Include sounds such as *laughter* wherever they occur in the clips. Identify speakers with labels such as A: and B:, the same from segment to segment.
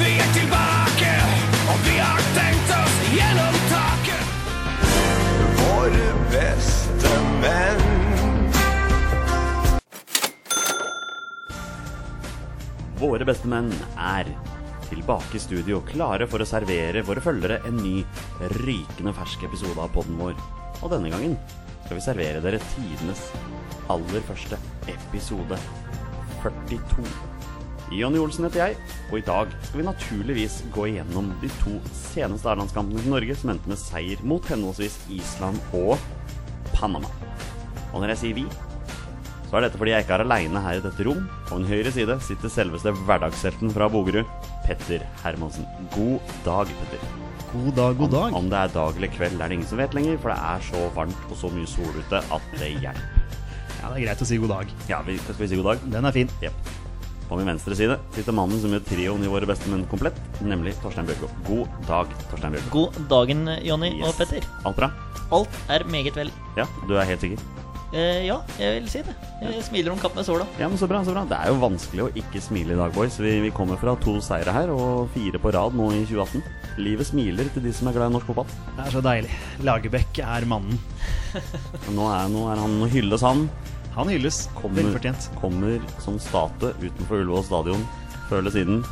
A: Vi er tilbake, og vi har tenkt oss gjennom taket. Våre beste menn.
B: Våre bestemenn er tilbake i studio, klare for å servere våre følgere en ny rykende fersk episode av podden vår. Og denne gangen skal vi servere dere tidenes aller første episode 42. Jonny Olsen heter jeg, og i dag skal vi naturligvis gå igjennom de to seneste A-landskampene til Norge, som endte med seier mot henholdsvis Island og Panama. Og når jeg sier vi, så er dette fordi jeg ikke er aleine her i dette rom. På min høyre side sitter selveste hverdagshelten fra Bogerud, Petter Hermansen. God dag, Petter.
C: God dag, god dag.
B: Om det er dag eller kveld, er det ingen som vet lenger, for det er så varmt og så mye sol ute at det hjelper.
C: Ja, det er greit å si god dag.
B: Ja, vi skal vi si god dag?
C: Den er fin.
B: Jepp. På min venstre side sitter mannen som gjør trioen i Våre beste menn komplett, nemlig Torstein Bjørgo. God dag, Torstein Bjørgo.
D: God dagen, Jonny og
B: Yes.
D: Petter.
B: Alt bra?
D: Alt er meget vel.
B: Ja, du er helt sikker?
D: Eh, ja, jeg vil si det. Jeg smiler om kapp med såla.
B: Ja, men så bra, så bra. Det er jo vanskelig å ikke smile i dag, boys. Vi, vi kommer fra to seire her, og fire på rad nå i 2018. Livet smiler til de som er glad i norsk fotball.
C: Det er så deilig. Lagerbäck er mannen.
B: Nå er, nå er han, nå hylles han.
C: Han hylles. Velfortjent.
B: kommer som statue utenfor Ullevål stadion før eller siden.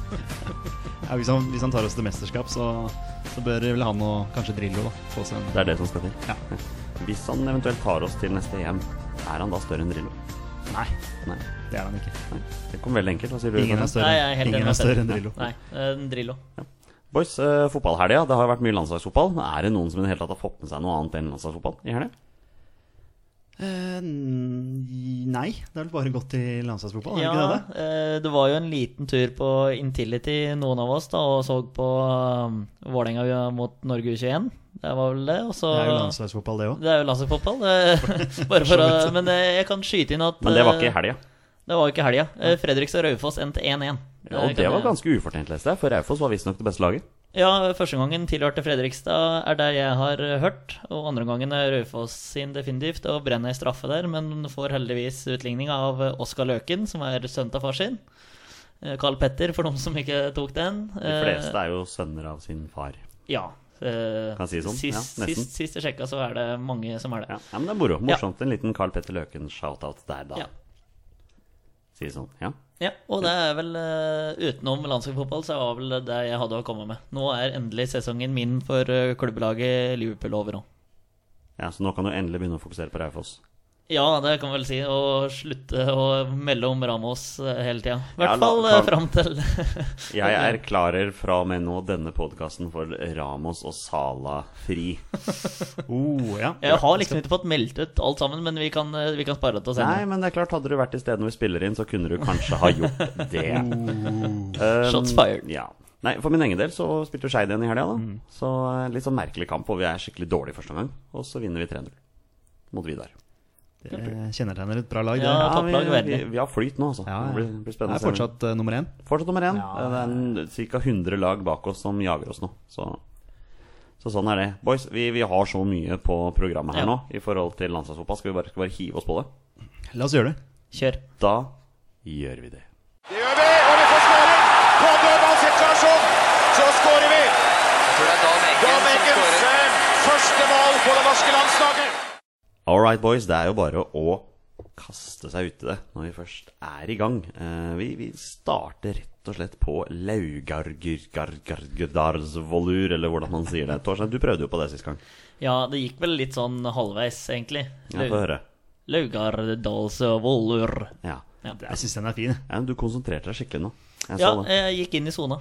C: Ja, hvis, han, hvis han tar oss til mesterskap, så, så bør vel han og kanskje Drillo da, få seg en
B: Det er det som skal til.
C: Ja.
B: Hvis han eventuelt tar oss til neste EM, er han da større enn Drillo?
C: Nei,
B: Nei.
C: det er han ikke.
B: nei. Det kom veldig enkelt. Hva sier du?
C: Ingen er
B: Jonas?
C: større,
D: Nei, jeg er helt enig
C: Ingen
D: med
C: er større
D: Petter.
C: enn Drillo.
D: Nei, eh, Drillo.
B: Boys, eh, fotballhelga. Det har jo vært mye landslagsfotball. Er det noen som i det hele tatt har fått med seg noe annet enn landslagsfotball i helga?
C: Eh, nei, det er vel bare gått i landslagsfotball, er det ikke
D: Ja,
C: det? det?
D: eh, det var jo en liten tur på Intility, noen av oss, da, og så på um, Vålerenga mot Norge U21. Det var vel det. Og så
C: Det er jo landslagsfotball, det òg.
D: Det er jo landslagsfotball.
C: *laughs*
D: eh, *laughs* Bare for å Men eh, jeg kan skyte inn at
B: Men det var
D: eh,
B: ikke i helga.
D: Det var jo ikke i helga. Eh, Fredrikstad og Raufoss endte 1-1.
B: Ja, og
D: kan
B: det var
D: jeg-
B: ganske ufortjent, leste jeg, for Raufoss var visstnok det beste laget.
D: Ja, første gangen tilhørte Fredrikstad er der jeg har hørt, og andre gangen er Raufoss sin definitivt, og brenner ei straffe der, men får heldigvis utligning av Oskar Løken, som er sønnen til far sin. Eh, Carl Petter, for de som ikke tok den.
B: De fleste
D: Eh,
B: er jo sønner av sin far.
D: Ja. eh,
B: Kan jeg si det sånn? Ja,
D: Sist,
B: nesten.
D: sist, sist jeg sjekka, så er det mange som er det.
B: Ja, ja men det er moro. Morsomt. En liten Carl Petter Løken-shoutout der, da.
D: Ja.
B: Sier sånn. Ja.
D: Ja, og det er vel eh, utenom landslagsfotball, så var vel det jeg hadde å komme med. Nå er endelig sesongen min for eh, klubbelaget Liverpool over òg.
B: ja, så nå kan du endelig begynne å fokusere på Raufoss.
D: Ja, det kan vi vel si. Å slutte å melde om Ramos eh, hele tida. I hvert
B: Ja, la-
D: fall eh,
B: kan-
D: fram til
B: Jeg erklærer fra og med nå denne podkasten for Ramos og Sala fri.
C: Oh, ja.
D: *laughs* *laughs* Jeg har liksom ikke fått meldt ut alt sammen, men vi kan, eh, vi kan spare det til oss
B: Nei,
D: ennå.
B: men det er klart, hadde du vært i stedet når vi spiller inn, så kunne du kanskje ha gjort
C: *laughs* Uh.
B: det. Um,
D: Shots fired.
B: Ja. Nei, for min egen del så spilte jo Skeid igjen i helga, da.
C: Mm.
B: Så eh, litt sånn merkelig kamp, og vi er skikkelig dårlige første omgang. Og så vinner vi 3-0 mot Vidar.
C: Det kjennetegner et bra lag, det.
D: Ja,
B: vi,
D: topplag,
B: vi,
D: veldig.
B: vi har flyt nå, altså.
C: Ja,
B: Det blir, blir
C: Det
B: spennende. å
C: er
B: se.
C: fortsatt eh, nummer én.
B: Fortsatt nummer én.
C: Ja.
B: det er ca. 100 lag bak oss som jager oss nå. Så, så sånn er det. Boys, vi, vi har så mye på programmet her
D: Ja.
B: nå i forhold til landslagsfotball. Skal vi bare, skal vi bare hive oss på det?
C: La oss gjøre det.
D: Kjør.
B: Da gjør vi det.
A: Det gjør vi, og vi får skåring! På dødballsituasjon så skårer vi! Dan Eggens eh, første mål på det norske landslaget.
B: All right, boys. Det er jo bare å kaste seg uti det når vi først er i gang. Eh, vi, vi starter rett og slett på Laugargargargardarsvolur, eller hvordan man sier det. Torstein, du prøvde jo på det sist gang.
D: Ja, det gikk vel litt sånn halvveis, egentlig.
B: Ja, Få høre.
D: Laugardalsvollur.
B: Ja.
D: Ja.
C: Jeg syns den er fin. jeg.
B: Ja, men du konsentrerte deg skikkelig nå. Jeg
D: ja, eh,
B: så det.
D: jeg gikk inn i sona.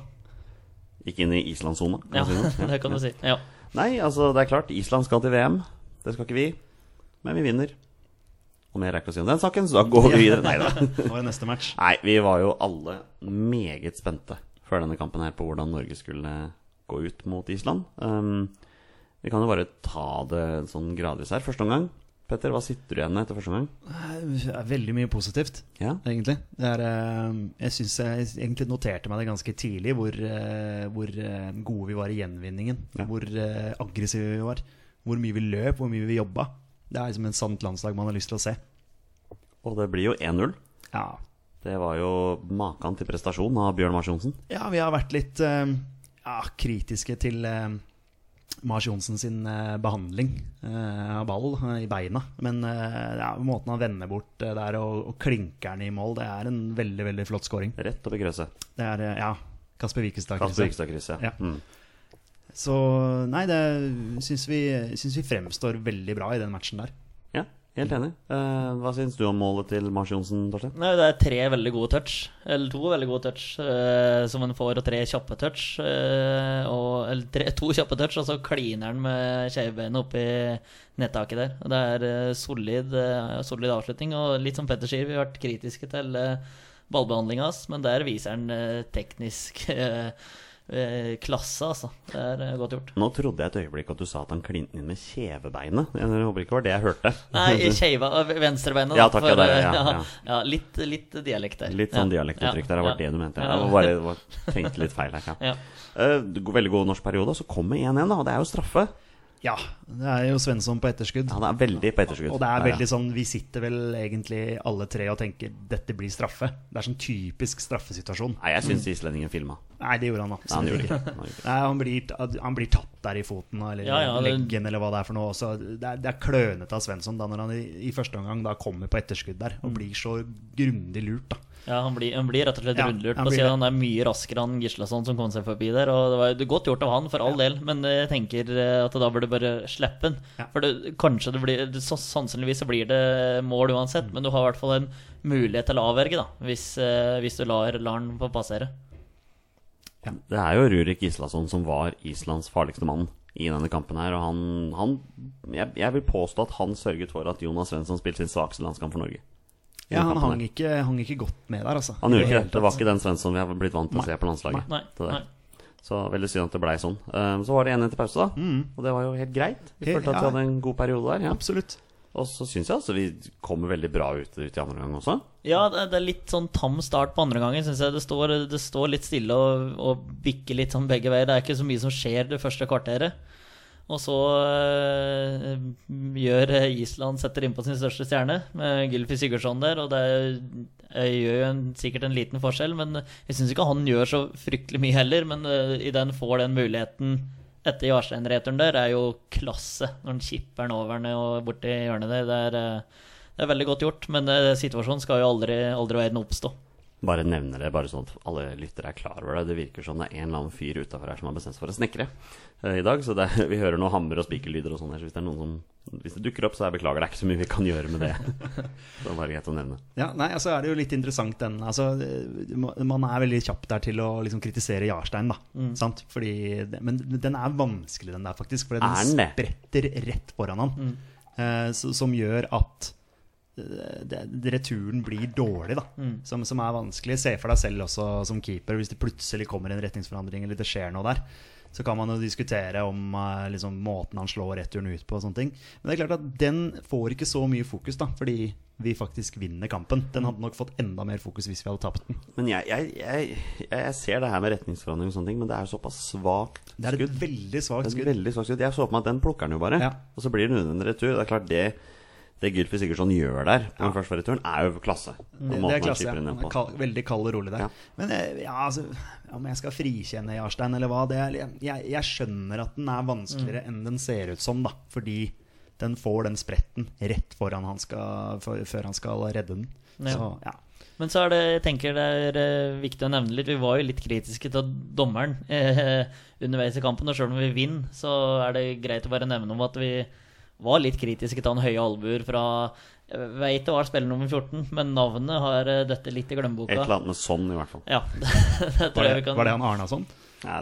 B: Gikk inn i Islandssonen, kan
D: Ja,
B: man si det?
D: *laughs* det kan du si. Ja.
B: Nei, altså, det er klart, Island skal til VM. Det skal ikke vi. Men vi vinner. Og mer er ikke å si om den saken, så da går
D: *laughs*
B: vi videre.
C: *laughs*
B: Nei da.
C: Nå er neste match.
B: Nei, vi var jo alle meget spente før denne kampen her på hvordan Norge skulle gå ut mot Island. Um, vi kan jo bare ta det sånn gradvis her. Første omgang Petter, hva sitter du igjen med etter første omgang?
C: Det er Veldig mye positivt.
B: Ja.
C: egentlig. Det er, eh, jeg synes jeg egentlig noterte meg det ganske tidlig, hvor, eh, hvor eh, gode vi var i gjenvinningen.
B: Ja.
C: Hvor eh, aggressive vi var. Hvor mye vi løp, hvor mye vi jobba. Det er liksom en sant landslag man har lyst til å se.
B: Og det blir jo 1-0.
C: Ja,
B: Det var jo maken til prestasjon av Bjørn Mars Johnsen.
C: ja vi har vært litt eh, ja, kritiske til eh, Mars Johnsen sin eh, behandling eh, av ball eh, i beina. Men eh, ja, måten han vender bort eh, der og, og klinker den i mål, det er en veldig veldig flott scoring.
B: Rett opp i krøsset.
C: Det er eh, ja, Kasper Wikestad.
B: Kasper
C: Christian.
B: Vikstad-krysset.
C: Ja.
B: Mm.
C: Så nei, det syns vi, syns vi fremstår veldig bra i den matchen der.
B: ja, helt enig. Eh, hva syns du om målet til Mars Johnsen, Torstein?
D: Nei, det er tre veldig gode touch. Eller to veldig gode touch eh, som en får, og tre kjappe touch. eh, og, eller tre, *laughs* to kjappe touch, og så kliner han med skeivbeinet oppi nettaket der. Og det er eh, solid, eh, solid avslutning. Og litt som Petter sier, vi har vært kritiske til uh, ballbehandlinga hans, men der viser han eh, teknisk *laughs* eh, eh, klasse, altså. Det er eh, godt gjort.
B: Nå trodde jeg et øyeblikk at du sa at han klinte inn med kjevebeinet. Jeg håper ikke det var det jeg hørte. *laughs*
D: Nei, skeiva venstrebeinet. da,
B: Ja, takk, ja,
D: for,
B: det er det,
D: eh, *laughs*
B: ja, ja.
D: ja, litt, litt dialekt der.
B: Litt sånn
D: Ja,
B: dialektuttrykk der. Det var det du mente.
D: ja.
B: Jeg var bare var- tenkte litt feil her. Ja.
D: Ja.
B: Eh, veldig god norsk periode, og så kommer 1-1, da. Og det er jo straffe.
C: Ja, det er jo Svensson på etterskudd.
B: Han er veldig på etterskudd.
C: Og det
B: Ja,
C: er
B: ja.
C: veldig sånn, vi sitter vel egentlig alle tre og tenker dette blir straffe. Det er sånn typisk straffesituasjon.
B: Nei, jeg syns islendingen filma.
C: Nei, det gjorde han
B: Nei, han
C: absolutt
B: gjorde
C: ikke.
B: ikke. Han gjorde ikke.
C: Nei, han, blir, han blir tatt der i foten eller
D: Ja, ja, det-
C: leggen eller hva det er for noe. Også. Det er, det er klønete av Svensson da, når han i, i første omgang da kommer på etterskudd der
D: Mm.
C: og blir så grundig lurt. da.
D: Ja, han blir, han blir rett og slett
C: Ja,
D: rundlurt.
C: han
D: på
C: blir
D: siden
C: det.
D: han er mye raskere enn Gislason som kom seg forbi der. Og det var jo godt gjort av han, for all del, men jeg tenker eh, at da burde du bare slippe han.
C: Ja.
D: For det, kanskje det blir det- så, Sannsynligvis så blir det mål uansett,
C: Mm.
D: men du har i hvert fall en mulighet til å avverge, da, hvis, eh, hvis du lar, lar han få passere.
B: Det er jo Rurik Islason som var Islands farligste mann i denne kampen her. Og han, han jeg, jeg vil påstå at han sørget for at Jonas Svensson spilte sin svakeste landskamp for Norge. I
C: Ja,
B: den
C: Han
B: kampen
C: hang
B: her.
C: ikke, hang ikke godt med der, altså.
B: Han
C: I
B: gjorde ikke
C: hele
B: det. Det var
C: tatt.
B: ikke den Svensson vi har blitt vant til å se på landslaget.
D: Nei,
B: Så det-
D: nei.
B: Så veldig synd at det blei sånn. Eh, Så var det 1-1 til pause, da. Og det var jo helt greit. Vi
C: Mm. Helt-
B: følte at vi
C: ja.
B: hadde en god periode der. Ja.
C: Absolutt.
B: Og så syns jeg altså vi kommer veldig bra ut, ut i andre omgang også.
D: Ja, det det er litt sånn tam start på andre gangen, syns jeg. Det står, det står litt stille og, og bikker litt sånn begge veier. Det er ikke så mye som skjer det første kvarteret. Og så øh, gjør eh, Island setter innpå sin største stjerne, med Gylfi Sigurdsson der. Og det er- jeg gjør jo en, sikkert en liten forskjell, men jeg syns ikke han gjør så fryktelig mye heller. Men øh, i den får den muligheten etter Jarstein-returen der, er jo klasse. Når han kipper den over den og borti hjørnet der. Det er, øh, det er veldig godt gjort, men eh, situasjonen skal jo aldri, aldri verden oppstå.
B: Bare nevner det, bare sånn at alle lyttere er klar over det. Det virker som det er en eller annen fyr utafor her som har bestemt seg for å snekre eh, i dag. Så det, er- vi hører noe hammer og spikerlyder og sånn her, så hvis det er noen som Hvis det dukker opp, så jeg beklager, det er ikke så mye vi kan gjøre med
C: *laughs*
B: det. Så det var greit å nevne.
C: Ja, nei, altså er det jo litt interessant den altså, eh, Man er veldig kjapp der til å liksom kritisere Jarstein, da. Sant? Fordi, det- men den er vanskelig, den der, faktisk. For den
B: Er
C: spretter rett foran han. Eh, så, som gjør at eh, det, returen blir dårlig, da. Som, som er vanskelig. Se for deg selv også som keeper, hvis det plutselig kommer en retningsforandring eller det skjer noe der. Så kan man jo diskutere om eh, liksom, måten han slår returen ut på og sånne ting. Men det er klart at den får ikke så mye fokus, da, fordi vi faktisk vinner kampen. Den hadde nok fått enda mer fokus hvis vi hadde tapt den.
B: Men jeg, jeg, jeg, jeg- jeg ser det her med retningsforandring og sånne ting, men det er jo såpass svakt
C: Det er et
B: skudd.
C: veldig
B: Det
C: svakt
B: er et
C: skudd.
B: veldig svakt skudd. Jeg så på meg at den plukker han jo bare.
C: Ja.
B: Og så blir det en unødvendig retur. Det er klart det det Gylfi Sigurdsson gjør der på den første returen, er jo klasse. På
C: Det,
B: måten
C: det
B: han
C: er klasse.
B: chipper
C: Ja.
B: den ned
C: Han
B: på.
C: er kald, veldig kald og rolig der.
B: Ja.
C: Men eh, ja, altså, om jeg skal frikjenne Jarstein eller hva det er, jeg, jeg skjønner at den er
D: Mm.
C: vanskeligere enn den ser ut som, da. Fordi den får den spretten rett foran han skal, for, før han skal redde den.
D: Ja.
C: Så ja.
D: Men så er det, jeg tenker det er eh, viktig å nevne litt, vi var jo litt kritiske til dommeren eh, underveis i kampen, og selv om vi vinner, så er det greit å bare nevne om at vi var litt kritiske til han høye albuer fra jeg vet det var spillernummer 14, men navnet har eh, dette litt
B: Et
D: i
B: eller
D: glemmeboka.
B: annet med sånn, i hvert fall.
D: Ja, *laughs* det, tror
C: Var,
D: jeg vi
C: det,
D: kan
C: var det han sånn? Arnason? Ja,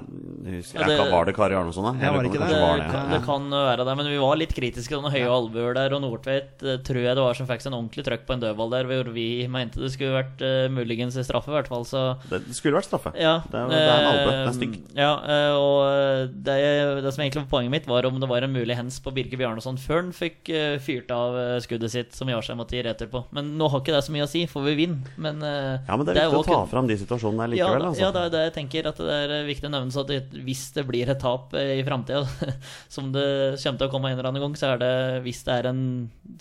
B: Jeg husker-
D: Ja, det-
B: jeg- Var det Kari Arneson, da?
C: Jeg var ikke
B: Kanskje
C: det.
B: var
D: Det, kan- det kan være det, men vi var litt kritiske. Sånne høye albuer der, og Nordtveit eh, tror jeg det var som fikk seg en ordentlig trøkk på en dødball der, hvor vi mente det skulle vært eh, muligens straffe, i hvert fall. Så
B: Det det skulle vært straffe.
D: ja.
B: Det er, det er en albue. Det er
D: eh,
B: stygg.
D: Ja, eh, og eh, det, det som egentlig var poenget mitt, var om det var en mulig hens på Birger Bjarnason før han fikk eh, fyrt av eh, skuddet sitt, som Jarstein måtte gi retur på. Men nå har ikke det så mye å si, for vi vinner. Men, eh,
B: Ja, men det er viktig å
D: også
B: ta
D: kun-
B: fram de situasjonene der
D: ja,
B: likevel. Altså.
D: ja, det er det jeg tenker. At det er eh, viktig å nevne så at det, hvis det blir et tap eh, i framtida, *laughs* som det kommer til å komme en eller annen gang, så er det hvis det er en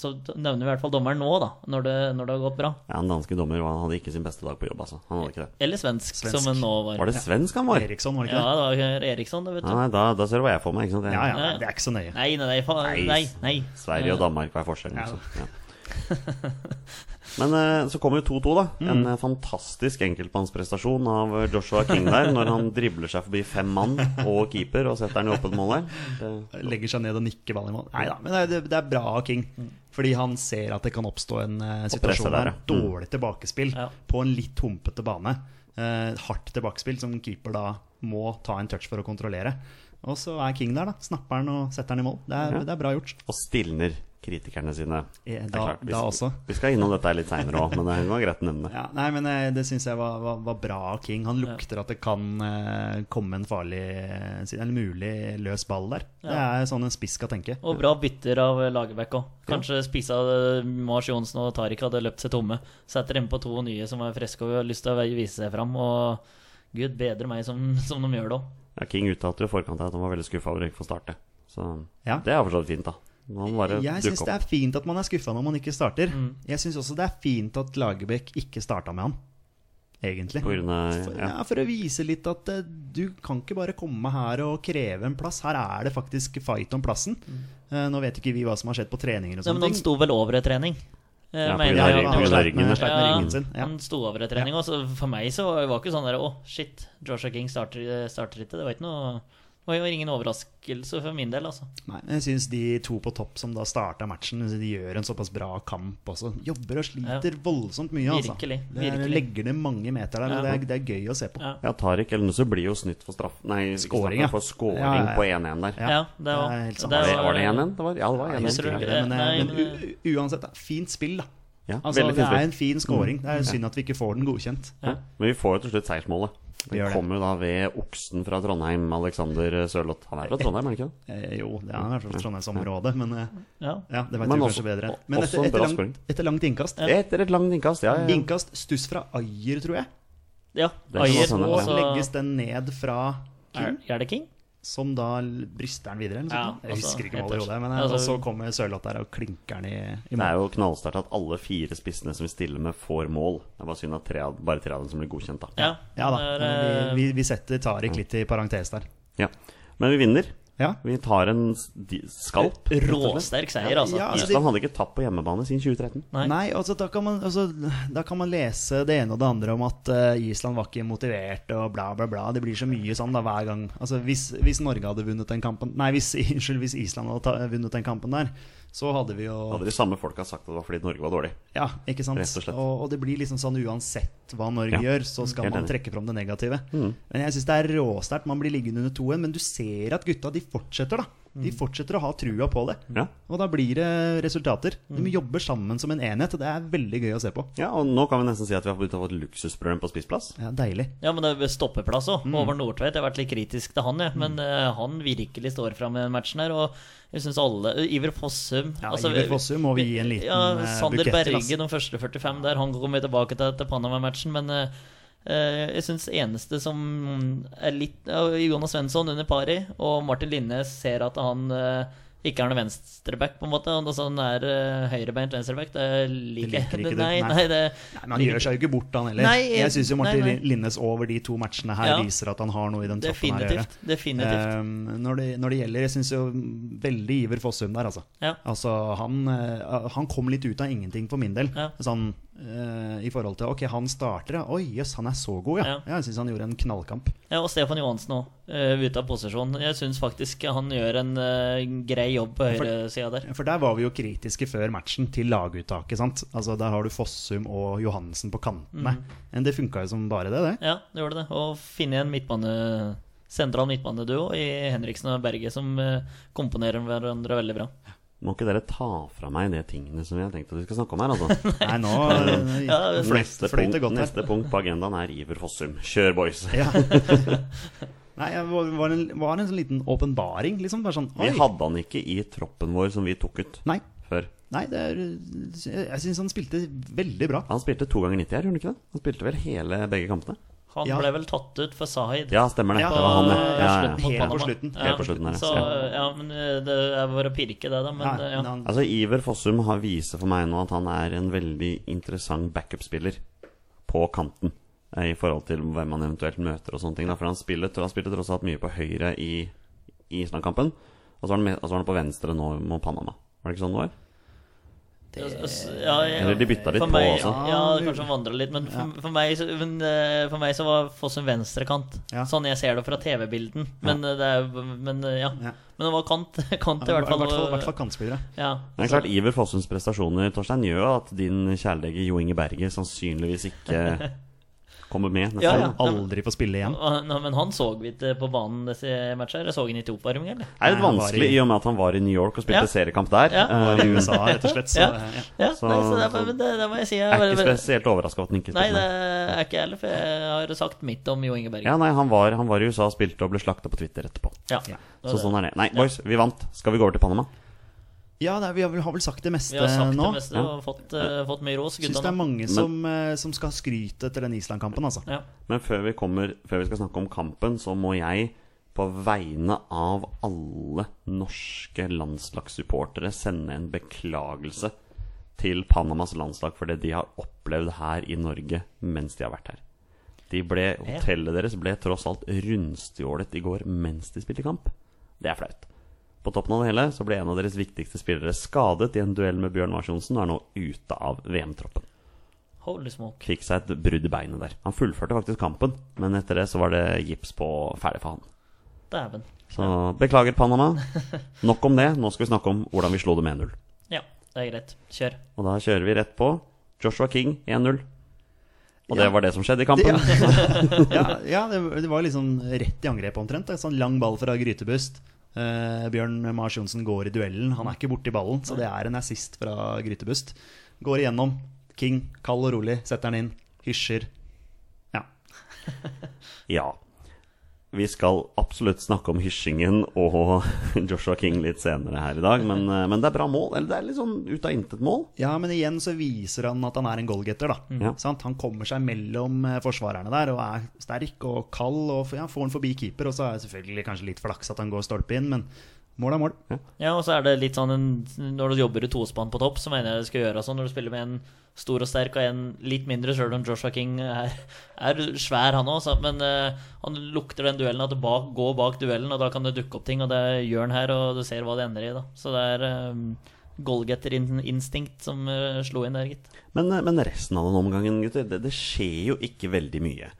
D: Så nevner vi i hvert fall dommeren nå, da, når det, når det har gått bra.
B: Ja, en danske dommer han hadde ikke sin beste dag på jobb, altså. Han hadde ikke det.
D: Eller svensk,
C: Svensk.
D: som en nå var.
B: Var det svensk han var?
C: Eriksson, var det
D: Ja,
C: ikke det?
D: det var Eriksson, det, vet du.
B: Nei, da, da ser du hva jeg får meg. ikke sant? Jeg-
C: Ja, ja, det er ikke så nøye.
D: Nei, nei, nei. faen, nei, nei.
B: Sverige og Danmark, hva er forskjellen?
C: Ja.
B: altså? Ja. Men eh, så kommer jo 2-2, da.
C: Mm.
B: En eh, fantastisk enkeltmannsprestasjon av eh, Joshua King der, når han dribler seg forbi fem mann og keeper og setter den i åpent mål der. Det-
C: Legger seg ned og nikker ballen i mål. Nei da, men det, er- det er bra av King. Fordi han ser at det kan oppstå en eh,
B: presset
C: situasjon
B: der,
C: der.
B: ja. Mm.
C: Dårlig tilbakespill
D: Ja.
C: på en litt humpete bane. Eh, hardt tilbakespill som keeper da må ta en touch for å kontrollere. Og så er King der, da. Snapper han og setter han i mål. Det er,
B: Ja.
C: det er bra gjort.
B: Og stilner kritikerne sine.
C: Eh,
B: Det er
C: Da,
B: klart, vi,
C: da også.
B: vi skal innom dette litt seinere òg, men det var greit å nevne.
C: Ja, nei, men eh, det syns jeg var, var, var bra av King. Han lukter at det kan eh, komme en farlig eh, si- En mulig løs ball der. Det er sånn en spiss skal tenke.
D: Og bra bytter av Lagerbäck òg. Kanskje spissa eh, Mars Johnsen og Tariq hadde løpt seg tomme. Setter innpå to nye som er friske og har lyst til å vise seg fram. Og gud bedre meg som, *laughs* som de gjør det òg.
B: Ja, King uttalte jo i forkant her at han var veldig skuffa over å ikke få starte. Så
C: Ja.
B: det er for så vidt fint, da. Han bare
C: Jeg syns
B: dukker
C: det
B: opp.
C: er fint at man er skuffa når man ikke starter.
D: Mm.
C: Jeg syns også det er fint at Lagerbäck ikke starta med han, egentlig.
B: På grunn av,
C: For,
B: ja.
C: ja, for å vise litt at eh, du kan ikke bare komme her og kreve en plass. Her er det faktisk fight om plassen. Eh, nå vet ikke vi hva som har skjedd på treninger og
D: Nei,
C: sånne
D: Mm. men han
C: ting.
D: sto vel over en trening. Eh,
B: Ja, på
D: mener
B: grunn av
D: jeg.
B: ryggen.
D: Han
B: På grunn av
D: slapp-
B: ryggen, ja.
C: Sleit med ryggen sin. Ja. Mm.
D: Han sto over en trening også. For meg så var det ikke sånn der Å, shit, Joshua King starter, eh, starter ikke. Det var ikke noe det var jo ingen overraskelse for min del, altså.
C: Nei, men jeg syns de to på topp som da starta matchen, de gjør en såpass bra kamp også. Jobber og sliter voldsomt mye, altså.
D: Virkelig,
C: Det er,
D: virkelig.
C: legger ned mange meter der, men
D: Ja.
C: det, er, det er gøy å se på.
D: Ja.
B: Ja, Tariq eller noe så blir jo snytt for straff Nei, ikke straff,
C: Scoring, ja.
B: for scoring
C: Ja, ja, ja.
B: på 1-1 der.
D: Ja, det var
C: det er helt sant.
B: Var det, var det 1-1? Det var- Ja, det var
C: Jeg
B: 1-1.
C: husker
D: tror
C: ikke
D: det.
B: tror jeg.
C: det, men, eh,
D: Nei,
C: men
D: men-
C: u- u- uansett, da, fint spill, da.
B: Ja,
C: Altså,
B: veldig fint
C: det
B: Mm.
C: er
B: spill.
C: en fin scoring. Det er synd at vi ikke får den godkjent.
B: Ja. Men vi får jo til slutt seiersmålet.
C: Vi gjør
B: Det
C: det.
B: kommer jo da ved oksen fra Trondheim, Alexander Sørloth. Han er fra Trondheim, er han ikke det?
C: Eh, jo, det er i hvert fall Trondheimsområdet, men eh,
D: Ja.
C: ja, det
B: Men
C: vet vi
B: også-
C: kanskje bedre. Men
B: også
C: etter,
B: en bra
C: etter,
B: scoring.
C: langt, etter langt innkast.
B: Etter et langt innkast, ja. ja, ja.
C: Innkast stuss fra Ayer, tror jeg.
D: ja.
B: Det er ikke
D: Ayer
B: sånn,
D: og
C: Og
D: så
C: legges den ned fra
D: er, er det King?
C: som da l- bryster den videre. Eller
D: Ja,
C: noe sånt. jeg
D: altså,
C: husker ikke
D: helt
C: hva det gjorde, men eh,
D: altså-
C: og så kommer Sørloth der og klinker den i, i
B: Det er
C: mål.
B: jo knallsterkt at alle fire spissene som vi stiller med, får mål. Det er bare synd at tre, av- bare tre av dem som blir godkjent, da.
D: Ja.
C: Ja da,
D: det er, eh,
C: men vi, vi, vi setter Tariq litt i parentes der.
B: Ja. Men vi vinner.
C: Ja,
B: Vi tar en s- di- skalp.
D: eh, Råsterk seier, altså.
C: Ja, altså,
B: Island hadde ikke tapt på hjemmebane siden 2013.
D: Nei.
C: Nei, altså, da, kan man, altså, da kan man lese det ene og det andre om at eh, Island var ikke motivert og bla, bla, bla. Det blir så mye sånn da hver gang. Altså, hvis, hvis Norge hadde vunnet den kampen Nei, hvis, *laughs* unnskyld, hvis Island hadde ta, vunnet den kampen der, så hadde vi jo
B: Hadde de samme folka sagt at det var fordi Norge var dårlig.
C: Ja, ikke sant?
B: Rett og slett.
C: Og, og det blir liksom sånn uansett hva Norge
B: Ja.
C: gjør, så skal
B: Helt
C: man
B: enig. Mm.
C: trekke fram det negative. Men jeg syns det er råsterkt. Man blir liggende under 2-1, men du ser at gutta de fortsetter, da. De fortsetter å ha trua på det.
B: Ja.
C: Og da blir det resultater. De jobber sammen som en enhet, og det er veldig gøy å se på.
B: Ja, og nå kan vi nesten si at vi har begynt å få et luksusproblem på spissplass.
C: Ja, deilig.
D: Ja, men det er stoppeplass òg.
C: Mm.
D: Over Nordtveit. Jeg har vært litt kritisk til han, jeg. Men eh, han virkelig står fram i den matchen her. Og jeg syns alle eh, Iver Fossum altså,
C: Ja, Iver Fossum må vi gi en liten,
D: Ja,
C: eh,
D: Sander
C: bukett til, ass.
D: Berge, de første 45 der. Han kommer tilbake til, til Panama-matchen, men eh, eh, jeg syns eneste som er litt ja, Jonas Svensson under pari, og Martin Linnes ser at han eh, ikke er noen venstreback, på en måte. Han altså, han er uh, høyrebeint venstreback. Det liker
C: liker
D: jeg
C: ikke du.
D: Nei,
C: Nei.
D: nei, det
C: Nei, men han gjør seg jo ikke bort, han heller.
D: Nei,
C: jeg syns jo Martin
D: nei, nei.
C: Linnes over de to matchene her
D: Ja.
C: viser at han har noe i den toppen her å gjøre.
D: Definitivt. Definitivt.
C: Eh, når, det, når det gjelder Jeg syns jo veldig Iver Fossum der, altså.
D: Ja.
C: Altså, han, eh, han kom litt ut av ingenting for min del.
D: Ja.
C: Sånn, eh, I forhold til Ok, han starter, ja. Oi, jøss, han er så god, ja.
D: Ja.
C: ja jeg syns han gjorde en knallkamp.
D: Ja, og Stefan Johansen òg, ute av posisjon. Jeg syns faktisk han gjør en eh, grei jobb på
C: For-
D: høyresida der.
C: For der var vi jo kritiske før matchen til laguttaket, sant. Altså, der har du Fossum og
D: Mm.
C: Johansen på kantene. Men det funka jo som bare det, det.
D: Ja, det gjorde det. Og finne en midtbane sentral midtbaneduo i Henriksen og Berge som eh, komponerer hverandre veldig bra.
B: Må ikke dere ta fra meg de tingene som jeg har tenkt at vi skal snakke om
C: *laughs*
B: her, altså.
C: Nei,
B: *laughs*
C: nå
D: Ja, det
B: Neste,
C: fløyt det
B: punkt,
C: godt her.
B: neste punkt på agendaen er Iver Fossum. Kjør, boys!
C: Ja. Nei, det var- var en, var en sånn liten åpenbaring, liksom. Bare sånn,
B: Vi
C: oi.
B: hadde han ikke i troppen vår som vi tok ut
C: Nei,
B: før.
C: nei det er, jeg syns han spilte veldig bra.
B: Han spilte to ganger 90 her, gjorde han ikke det? Han spilte vel hele begge kampene?
D: Han
C: Ja.
D: ble vel tatt ut for Sahid.
B: Ja, stemmer det.
C: Ja,
B: det var han, ja.
D: eh,
B: ja,
D: slutten
B: ja.
D: mot
C: Helt på
D: Panama.
C: slutten.
D: Ja.
B: Helt på slutten her,
D: Så,
B: ja.
D: ja, men eh, det er bare å pirke, det, da. Men eh,
C: Nei,
D: ja.
C: han-
B: Altså, Iver Fossum har viser for meg nå at han er en veldig interessant backup-spiller på kanten. eh, I forhold til hvem han eventuelt møter og sånne ting. Da. For han spilte, han spilte tross alt mye på høyre i i Island-kampen. Og så var han, med- og så var han på venstre nå mot Panama. Var det ikke sånn det var?
D: ja, ja.
B: Eller de bytta litt
D: for
B: på
D: meg,
B: også.
D: Ja,
C: Ah,
D: det kanskje vandra litt, men, for, for, meg, så- men eh, for meg så var Fossum venstrekant.
C: Ja.
D: Sånn jeg ser det fra TV-bilden. Men eh, det er Men eh, ja.
C: Ja.
D: Men det var kant, *laughs* kant i
C: I
D: hvert fall.
C: hvert fall kantspillere.
D: Ja.
B: Men det er klart, Iver Fossums prestasjoner Torstein, gjør jo at din kjærlege Jo Inge Berge sannsynligvis
D: *laughs*
B: ikke kommer med neste
D: Ja,
B: år.
D: ja.
B: da.
C: Aldri få spille
D: *laughs*
C: igjen.
D: Og- Nei, men han så vi ikke på banen disse matcher. Jeg så han ikke i oppvarming, eller?
B: Det er litt
C: Nei, han var
B: vanskelig i
C: i-
B: og med at han var i New York og spilte
D: Ja.
B: seriekamp der.
D: Ja.
B: Eh,
C: I USA, rett og slett. Så,
D: Ja.
C: ja.
D: Ja,
B: Så-
D: nei, så det, er- men det, det må jeg si. Jeg,
B: Jeg er
D: er
B: ikke
D: veldig-
B: spesielt overraska over at han ikke
D: nei,
B: spilte
D: det
B: med.
D: er ikke jeg heller, for jeg har sagt mitt om Jo Inge Berg.
B: Ja, nei, han var, han var i USA og spilte og ble slakta på Twitter etterpå.
D: Ja.
C: Ja.
B: Så sånn er det. Nei, boys, vi vant. Skal vi gå over til Panama?
C: ja det er, vi har vel- har vel sagt det meste
D: Vi har sagt
C: nå.
D: det meste og fått, eh, fått mye ros.
C: Syns det er
D: Gutta nå.
C: mange som, eh, som skal ha skryt etter den Island-kampen, altså.
D: Ja.
B: Men før vi, kommer, før vi skal snakke om kampen, så må jeg på vegne av alle norske landslagssupportere sende en beklagelse til Panamas landslag for det de har opplevd her i Norge mens de har vært her. De ble, hotellet deres ble tross alt rundstjålet i går mens de spilte kamp. Det er flaut. På toppen av det hele så ble en av deres viktigste spillere skadet i en duell med Bjørn Mars Johnsen og er nå ute av VM-troppen
D: Holy smoke.
B: fikk seg et brudd i beinet der. Han fullførte faktisk kampen, men etter det så var det gips på ferdig for han.
D: Dæven.
B: Så beklager, Panama. Nok om det. Nå skal vi snakke om hvordan vi slo dem 1-0.
D: Ja, det er greit. Kjør.
B: Og da kjører vi rett på Joshua King 1-0. Og det var det som skjedde i kampen.
C: Ja. ja, ja det, det var liksom rett i angrep omtrent. Det er sånn lang ball fra grytebust. Eh, Bjørn Mars Johnsen går i duellen. Han er ikke borti ballen, så det er en assist fra grytebust. Går igjennom. King, kald og rolig, setter han inn. Hysjer. Ja.
B: *laughs* Ja. Vi skal absolutt snakke om hysjingen og *laughs* Joshua King litt senere her i dag, men, eh, men det er bra mål. Eller det er litt sånn ut av intet mål.
C: ja, men igjen så viser han at han er en goalgetter, da.
B: Ja.
C: Sant? Han kommer seg mellom eh, forsvarerne der og er sterk og kald og f- ja, får han forbi keeper. Og så er det selvfølgelig kanskje litt flaks at han går stolpe inn, men mål er mål.
D: Ja, og så er det litt sånn en, Når du jobber i tospann på topp, så mener jeg det skal gjøre sånn når du spiller med en stor og sterk og en litt mindre, sjøl om Joshua King er, er svær, han òg. Men eh, han lukter den duellen, at det bak, gå bak duellen, og da kan det dukke opp ting. Og det gjør han her, og du ser hva det ender i, da. Så det er eh, goalgetter-instinkt som eh, slo inn der, gitt.
B: Men, eh, men resten av den omgangen, gutter, det, det skjer jo ikke veldig mye.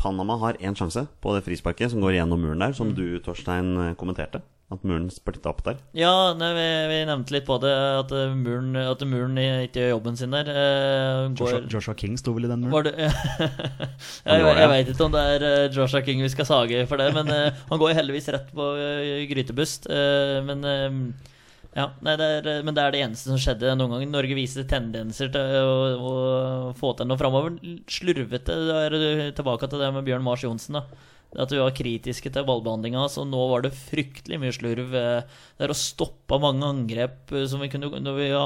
B: Panama har én sjanse på det frisparket som går gjennom muren der, som
C: Mm.
B: du, Torstein, eh, kommenterte. At muren splitta opp der.
D: Ja, nei, vi, vi nevnte litt på det, at eh, muren, at muren ikke gjør jobben sin der. eh,
C: Joshua,
D: går-
C: Joshua King sto vel i den muren?
D: Var det, *laughs* jeg
B: var det,
D: jeg
B: ja.
D: veit ikke om det er eh, Joshua King vi skal sage for det, men eh, han går jo heldigvis rett på eh, grytebust. eh, men eh, ja, nei, det er, eh, men det er det eneste som skjedde noen ganger. Norge viser tendenser til å, å få til noe framover. Slurvete. Da er det tilbake til det med Bjørn Mars Johnsen. da. At vi var kritiske til ballbehandlinga hans, og nå var det fryktelig mye slurv. eh, Der og stoppa mange angrep eh, som vi kunne, når vi ja,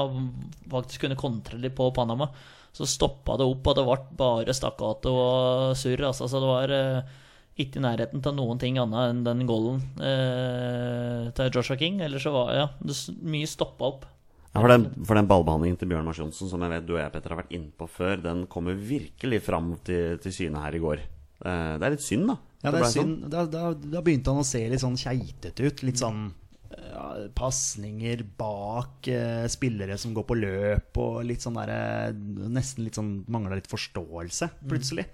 D: faktisk kunne kontre litt på Panama. Så stoppa det opp, og det ble bare stakkato og surr. Altså, så det var eh, ikke i nærheten til noen ting annet enn den goalen eh, til Joshua King. Ellers så var ja, det s- mye stoppa opp.
B: Ja, for, den, for den ballbehandlingen til Bjørn Mars Johnsen, som jeg vet du og jeg, Petter, har vært innpå før, den kommer virkelig fram til, til syne her i går. Eh, Det er litt synd, da.
C: Ja, det er
B: ble sånn.
C: synd. Da, da, da begynte han å se litt sånn keitete ut.
D: Mm.
C: Litt sånn ja, pasninger bak eh, spillere som går på løp, og litt sånn derre Nesten litt sånn mangla litt forståelse,
D: Mm.
C: plutselig.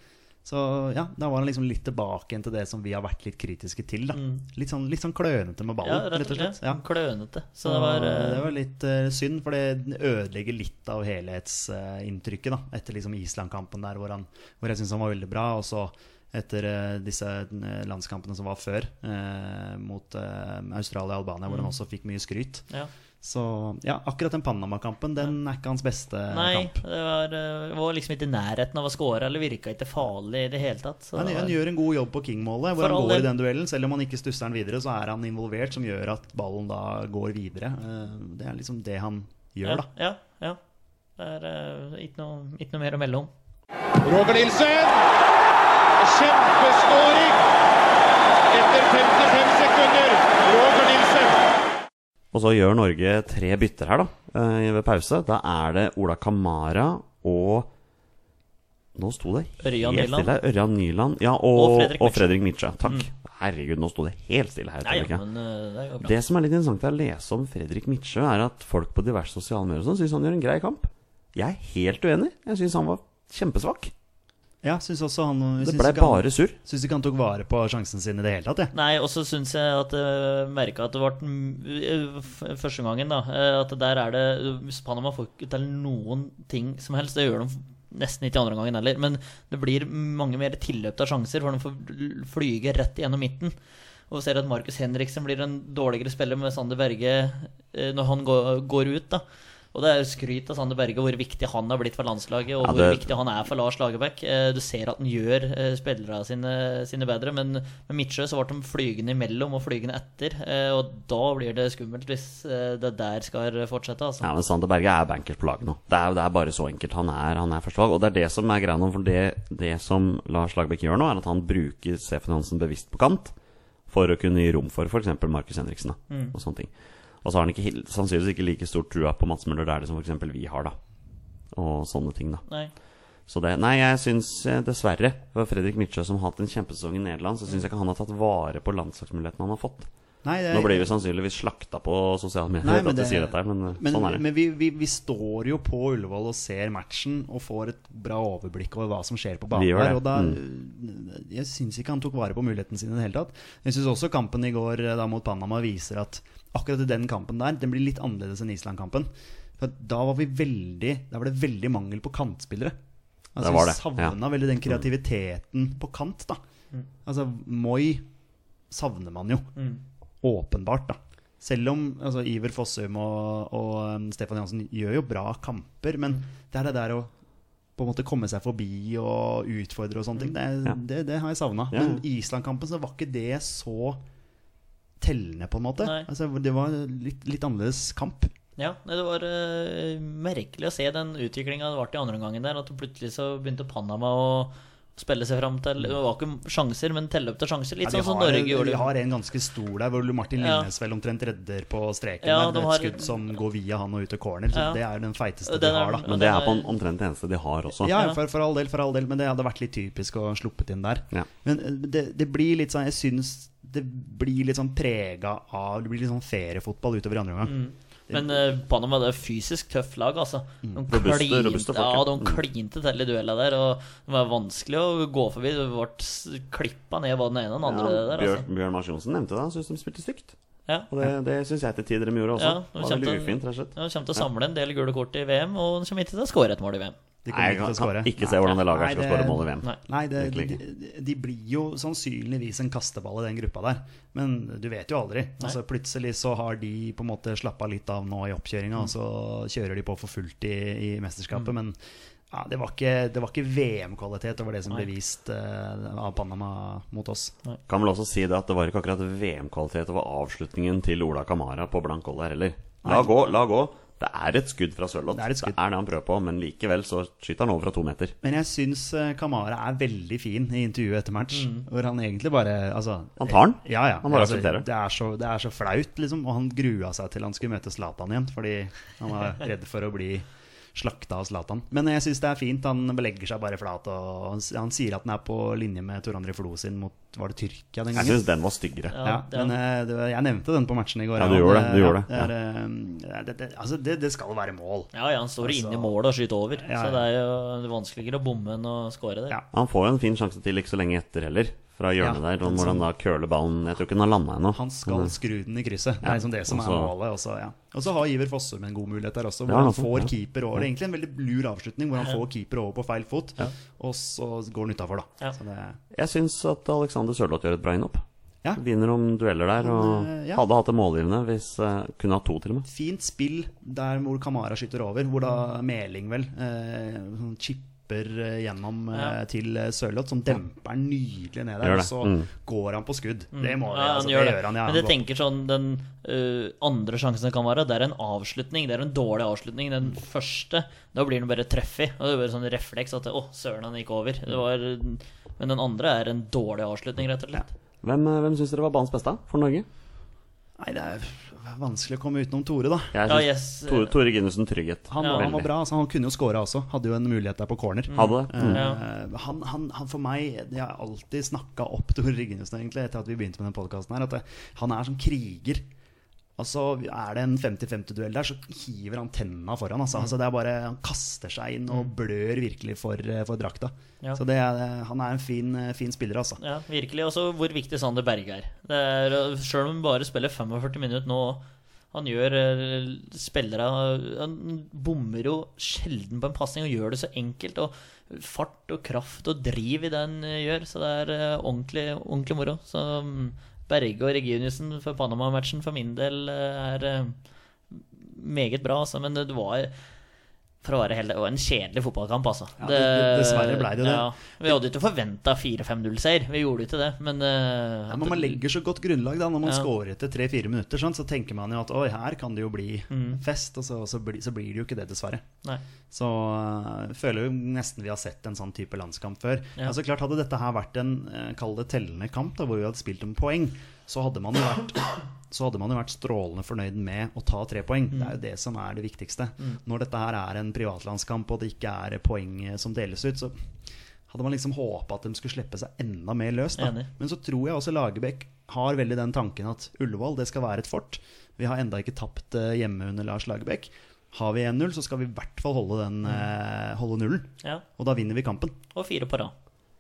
C: Så ja, da var han liksom litt tilbake igjen til det som vi har vært litt kritiske til, da. Litt sånn, litt sånn klønete med
D: Mm. Ja,
C: ballen,
D: rett og slett.
C: Ja.
D: Klønete. Så det var eh,
C: det var litt eh, synd, for det ødelegger litt av helhetsinntrykket. da, etter liksom Island-kampen der, hvor, han, hvor jeg syns han var veldig bra. Og så etter eh, disse eh, landskampene som var før, eh, mot eh, Australia og Albania, hvor han også fikk mye skryt.
D: Mm. Ja.
C: Så ja, akkurat den Panama-kampen, den er ikke hans beste
D: Nei,
C: Eh, kamp.
D: det var, eh, var liksom ikke i nærheten av å score, eller virka ikke farlig i det hele tatt. Så
C: Han,
D: det
C: han
D: var-
C: gjør en god jobb på King-målet,
D: For
C: hvor han
D: all
C: går i
D: del.
C: den duellen. Selv om han ikke stusser den videre, så er han involvert, som gjør at ballen da går videre. Eh, Det er liksom det han gjør, da.
D: Ja, ja. ja. Det er eh, ikke, noe, ikke noe mer å melde om.
A: Roger Nilsen! Kjempeskåring! Etter 55 sekunder. Roger Nilsen.
B: Og så gjør Norge tre bytter her, da, eh, ved pause. Da er det Ola Kamara og Nå sto det
D: Ørjan
B: helt
D: Nyland.
B: stille. Ørjan Nyland. Ja, og,
D: Og Fredrik
B: og Fredrik Mitsjø. Takk. Herregud, nå sto det helt stille her. et
D: Nei,
B: øyeblikk, ja.
D: ja, men eh, det går bra.
B: Det som er litt interessant å lese om Fredrik Midtsjø, er at folk på diverse sosiale medier og sånn syns han gjør en grei kamp. Jeg er helt uenig. Jeg syns han var kjempesvak.
C: Ja, syns også han
B: Det
C: syns
B: blei
C: ikke han-
B: bare surr.
C: Syns ikke han tok vare på sjansen sin i det hele tatt, jeg.
D: *laughs* Nei, og så syns jeg at jeg merka at det ble m- eh, f- Første gangen, da. eh, At der er det eh, Panama får ikke til noen ting som helst. Det gjør de nesten ikke andre gangen heller. Men det blir mange mer tilløp av sjanser, for de får l- flyge rett gjennom midten. Og ser at Markus Henriksen blir en dårligere spiller med Sander Berge eh, når han gå- går ut, da. Og det er skryt av Sander Berge hvor viktig han har blitt for landslaget, og
B: Ja,
D: hvor
B: det-
D: viktig han er for Lars Lagerbäck. Eh, Du ser at han gjør eh, spillerne sine, sine bedre, men med Midtsjø så ble de flygende imellom og flygende etter. eh, Og da blir det skummelt hvis eh, det der skal fortsette, altså.
B: Ja, men Sander Berge er bankers på laget nå. Det er, det er bare så enkelt. Han er, han er førstevalg. Og det er det som er greia nå. For det, det som Lars Lagerbäck gjør nå, er at han bruker Stefan Hansen bevisst på kant for å kunne gi rom for f.eks. Markus Henriksen da,
C: Mm.
B: og sånne ting. Og så har han ikke, helt- sannsynligvis ikke like stor trua på Mats Møller Dæhlie som f.eks. vi har, da. Og sånne ting, da.
D: Nei.
B: Så det, nei, jeg syns eh, dessverre for Fredrik Midtsjø, som har hatt en kjempesesong i Nederland, så syns jeg ikke han har tatt vare på landslagsmulighetene han har fått.
C: Nei, det-
B: Nå blir vi sannsynligvis slakta på sosiale medier
C: Eh, Nei,
B: etter
C: men
B: at jeg
C: det-
B: sier dette, her, men,
C: Men,
B: sånn er det.
C: men vi, vi, vi står jo på Ullevål og ser matchen og får et bra overblikk over hva som skjer på banen.
B: Vi gjør
C: der,
B: det, Mm.
C: og da, Jeg syns ikke han tok vare på muligheten sin i det hele tatt. Jeg syns også kampen i går eh, da, mot Panama viser at akkurat i den kampen der, den blir litt annerledes enn Island-kampen. For da var vi veldig Da var det veldig mangel på kantspillere. Altså,
B: Det var
C: vi
B: det, ja. Mm.
C: savna veldig den kreativiteten på kant, da. Altså, Moi savner man jo åpenbart, da. Selv om altså, Iver Fossum og, og um, Stefan Jansen gjør jo bra kamper,
D: Mm.
C: men det er det der å på en måte komme seg forbi og utfordre og sånne
D: Mm.
C: ting, det, er-
B: Ja.
C: det, det har jeg savna.
B: Ja, ja.
C: Men Island-kampen så var ikke det så tellende, på en måte.
D: Nei.
C: Altså, det var litt, litt annerledes kamp.
D: Ja, nei, det var eh, merkelig å se den utviklinga det ble i andre omgangen der. At plutselig så begynte Panama å spille seg fram til Det var ikke sjanser, men telle opp til sjanser. Litt
C: Ja, de,
D: sånn som
C: har,
D: Norge gjorde.
C: de har en ganske stor der, hvor Martin
D: Ja.
C: Linnes vel omtrent redder på streken.
D: Ja,
C: der,
D: de
C: et
D: har-
C: skudd som går via han og ut til corner. Så
D: Ja.
C: Det er jo den feiteste
D: Den
C: de
D: er-
C: har, da.
B: Men det er på en omtrent det eneste de har også.
C: Ja,
D: Ja.
C: for, for all del, for all del, men det hadde vært litt typisk å sluppet inn der.
B: Ja.
C: Men eh, det, det blir litt sånn Jeg syns det blir litt sånn prega av Det blir litt sånn feriefotball utover i andre omgang.
D: Men eh, Panama det er fysisk tøft lag, altså. De
B: Robuste- Mm.
D: klinte-
B: robuste folk, ja.
D: ja, de klinte til i duella der, og det var vanskelig å gå forbi. Det ble klippa ned både den ene og den andre
B: Ja,
D: der,
B: Bjørn,
D: altså.
B: Bjørn Mars Johnsen nevnte det, han syntes de spilte stygt.
D: Ja.
B: Og det, det syns jeg til tider de gjorde også.
D: Ja,
B: det
D: de
B: var veldig
D: kjente-
B: ufint, rett og slett.
D: Ja, de kommer til å samle en del gule kort i VM, og de kommer ikke til å skåre et mål i VM.
C: De
B: Nei,
C: kommer
B: jeg
C: ikke til å
B: kan,
C: skåre.
B: kan ikke se hvordan det laget her
C: Nei,
B: skal
C: det-
B: skåre mål i VM.
D: Nei.
C: Nei, det,
B: Virkelig
C: de,
B: ikke.
C: de blir jo sannsynligvis en kasteball i den gruppa der. Men du vet jo aldri. Altså, plutselig så har de på en måte slappa litt av nå i oppkjøringa, og så kjører de på for fullt i, i mesterskapet. Men ja, det var ikke, det var ikke VM-kvalitet over det som ble vist eh, av Panama mot oss.
B: Kan vel også si det at det var ikke akkurat VM-kvalitet over avslutningen til Ola Kamara på blank hold her heller. La gå, la gå. Det er et skudd fra Sørloth.
C: Det er et skudd.
B: det er det han prøver på, men likevel så skyter han over fra to meter.
C: Men jeg syns eh, Kamara er veldig fin i intervjuet etter match.
D: Mm.
C: Hvor han egentlig bare altså,
B: Han tar den.
C: Ja, ja. Altså,
B: Han bare aksepterer.
C: Det er, så, det er så flaut, liksom. Og han grua seg til han skulle møte Zlatan igjen, fordi han
D: *laughs*
C: var redd for å bli slakta av Zlatan. Men jeg syns det er fint. Han belegger seg bare flat. Og han, s- han sier at han er på linje med Tor André Flo sin mot Var det Tyrkia den
B: Jeg
C: gangen?
B: syns den var styggere.
D: Ja,
C: Ja,
D: det er-
C: men eh, det var, jeg nevnte den på matchen i går.
B: Ja, du
C: Han,
B: gjorde det,
C: eh,
B: du gjorde
C: ja, det. er, eh, det, det, altså, det, det skal være mål.
D: Ja, ja, han står jo
C: Altså-
D: inne i målet og skyter over,
C: Ja, ja.
D: så det er jo vanskeligere å bomme enn å skåre der.
C: Ja.
B: Han får jo en fin sjanse til ikke så lenge etter heller, fra hjørnet
C: Ja,
B: der, om
C: den
B: hvordan
C: som-
B: da curler ballen Jeg tror ikke den har landa ennå.
C: Han skal skru den i krysset. Det er liksom det som
B: Mm. og så-
C: er målet. Og så ja. Og så har Iver Fossum en god mulighet der også,
B: Ja,
C: hvor han
B: altså,
C: får
B: ja.
C: keeper over. Det er egentlig en veldig lur avslutning, hvor han får keeper over på feil fot, og så går han utafor, da.
D: Ja.
C: Så det,
B: Jeg syns at Alexander Sørloth gjør et bra innhopp.
C: Ja.
B: Vinner om dueller der, og
C: eh, ja.
B: hadde hatt det målgivende hvis eh, Kunne hatt to, til og med.
C: fint spill der hvor Kamara skyter over, hvor da Meling vel eh, sånn chipper eh, gjennom eh,
D: Ja.
C: til eh, Sørloth, som demper han nydelig ned der,
B: Gjør
C: og
B: det,
C: så
B: mm.
C: går han på skudd. Det må vi,
D: Mm. Ja, han
C: altså,
D: gjør
C: det
D: det.
C: gjør han. Ja, han
D: Men jeg
C: går-
D: tenker sånn den ø, andre sjansen det kan være, det er en avslutning. Det er en dårlig avslutning. Den første, da blir den bare treffig. Og det er bare sånn refleks at å, søren, han gikk over. Det var, men den andre er en dårlig avslutning, rett og slett.
B: Hvem, eh, hvem syns dere var banens beste for Norge?
C: Nei, det er vanskelig å komme utenom Tore, da.
B: Jeg
D: Ja,
B: syns
D: yes, eh,
B: Tore, Tore Ginnussen Trygghet.
C: Han,
D: Ja.
C: han var bra, altså, han kunne jo skåra også. Hadde jo en mulighet der på corner.
B: Hadde det. Mm.
D: Ja.
C: Eh, han, han, han for meg Jeg har alltid snakka opp Tore Ryggeniussen egentlig etter at vi begynte med den podkasten her, at det, han er som kriger. Altså, Er det en 50-50-duell der, så hiver han tenna foran.
D: Mm.
C: Altså. Altså, det er bare, han kaster seg inn og blør virkelig for, eh, for drakta.
D: Ja.
C: Så det er, han er en fin, eh, fin spiller, altså.
D: Ja, virkelig. Og så hvor viktig Sander Berge er. Det er Sjøl om han bare spiller 45 minutter nå, han gjør eh, spillere Han bommer jo sjelden på en pasning og gjør det så enkelt. Og fart og kraft og driv i det han eh, gjør. Så det er eh, ordentlig, ordentlig moro. Så mm, Berge og Reginiussen for Panama-matchen for min del eh, er eh, meget bra, altså. Men det var for å være heldig, det var en kjedelig fotballkamp, altså.
C: Ja, det- dessverre ble det det.
D: Vi hadde jo ikke forventa 4-5-0-seier. Vi gjorde jo ikke det, men eh,
C: Ja, men man legger så godt grunnlag da når man
D: Ja.
C: scorer etter tre-fire minutter. Sånn, så tenker man jo at oi, her kan det jo bli
D: Mm.
C: fest, og så, så, blir- så blir det jo ikke det, dessverre.
D: Nei.
C: Så øh, føler vi nesten vi har sett en sånn type landskamp før.
D: Ja.
C: Altså klart Hadde dette her vært en øh, kall det tellende kamp, da, hvor vi hadde spilt om poeng, så hadde man jo vært så hadde man jo vært strålende fornøyd med å ta tre poeng. Det er
D: Mm.
C: jo det som er det viktigste. Når dette her er en privatlandskamp og det ikke er poeng eh, som deles ut, så hadde man liksom håpa at de skulle slippe seg enda mer løs. Da.
D: Enig.
C: Men så tror jeg også Lagerbäck har veldig den tanken at Ullevål det skal være et fort. Vi har enda ikke tapt eh, hjemme under Lars Lagerbäck. Har vi 1-0, så skal vi i hvert fall holde, den,
D: Mm.
C: eh, holde nullen.
D: Ja,
C: Og da vinner vi kampen.
D: og fire på rad.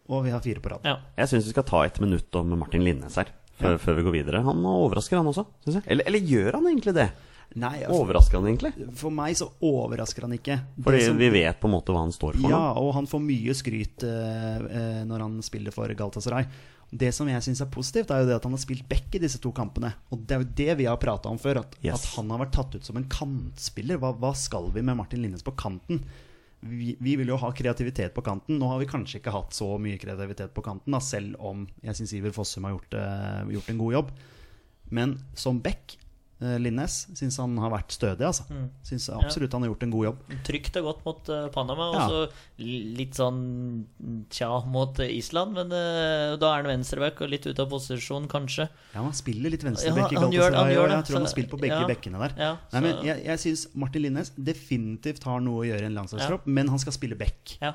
C: Og vi har fire på rad.
D: Ja.
B: Jeg syns vi skal ta et minutt om Martin Linnes her, før, før vi går videre. Han overrasker, han også, syns jeg. Eller, eller gjør han egentlig det?
C: Nei, altså,
B: Overrasker han egentlig?
C: for meg så overrasker han ikke. Det
B: Fordi
C: som-
B: vi vet på en måte hva han står for nå.
C: Ja, og han får mye skryt eh, eh, når han spiller for Galatasaray. Det som jeg syns er positivt, er jo det at han har spilt back i disse to kampene. Og det er jo det vi har prata om før, at,
B: Yes.
C: at han har vært tatt ut som en kantspiller. Hva, hva skal vi med Martin Linnes på kanten? Vi, vi vil jo ha kreativitet på kanten. Nå har vi kanskje ikke hatt så mye kreativitet på kanten, da, selv om jeg syns Iver Fossum har gjort, eh, gjort en god jobb. Men som back, eh, Linnes, syns han har vært stødig, altså. Syns absolutt han har gjort en god jobb.
D: Trygt og godt mot eh, Panama, og
C: Ja.
D: så li- litt sånn tja mot eh, Island. Men eh, da er han venstreback og litt ute av posisjon, kanskje.
C: Ja, han spiller litt venstrebekk
D: Ja,
C: i
D: han gjør- han
C: Galatasaray.
D: gjør
C: og Jeg
D: det,
C: tror han har
D: så-
C: spilt på begge
D: ja,
C: bekkene der.
D: ja,
C: Nei, men
D: så-
C: jeg, jeg syns Martin Linnes definitivt har noe å gjøre i en landslagstropp, men han skal spille back.
D: Ja,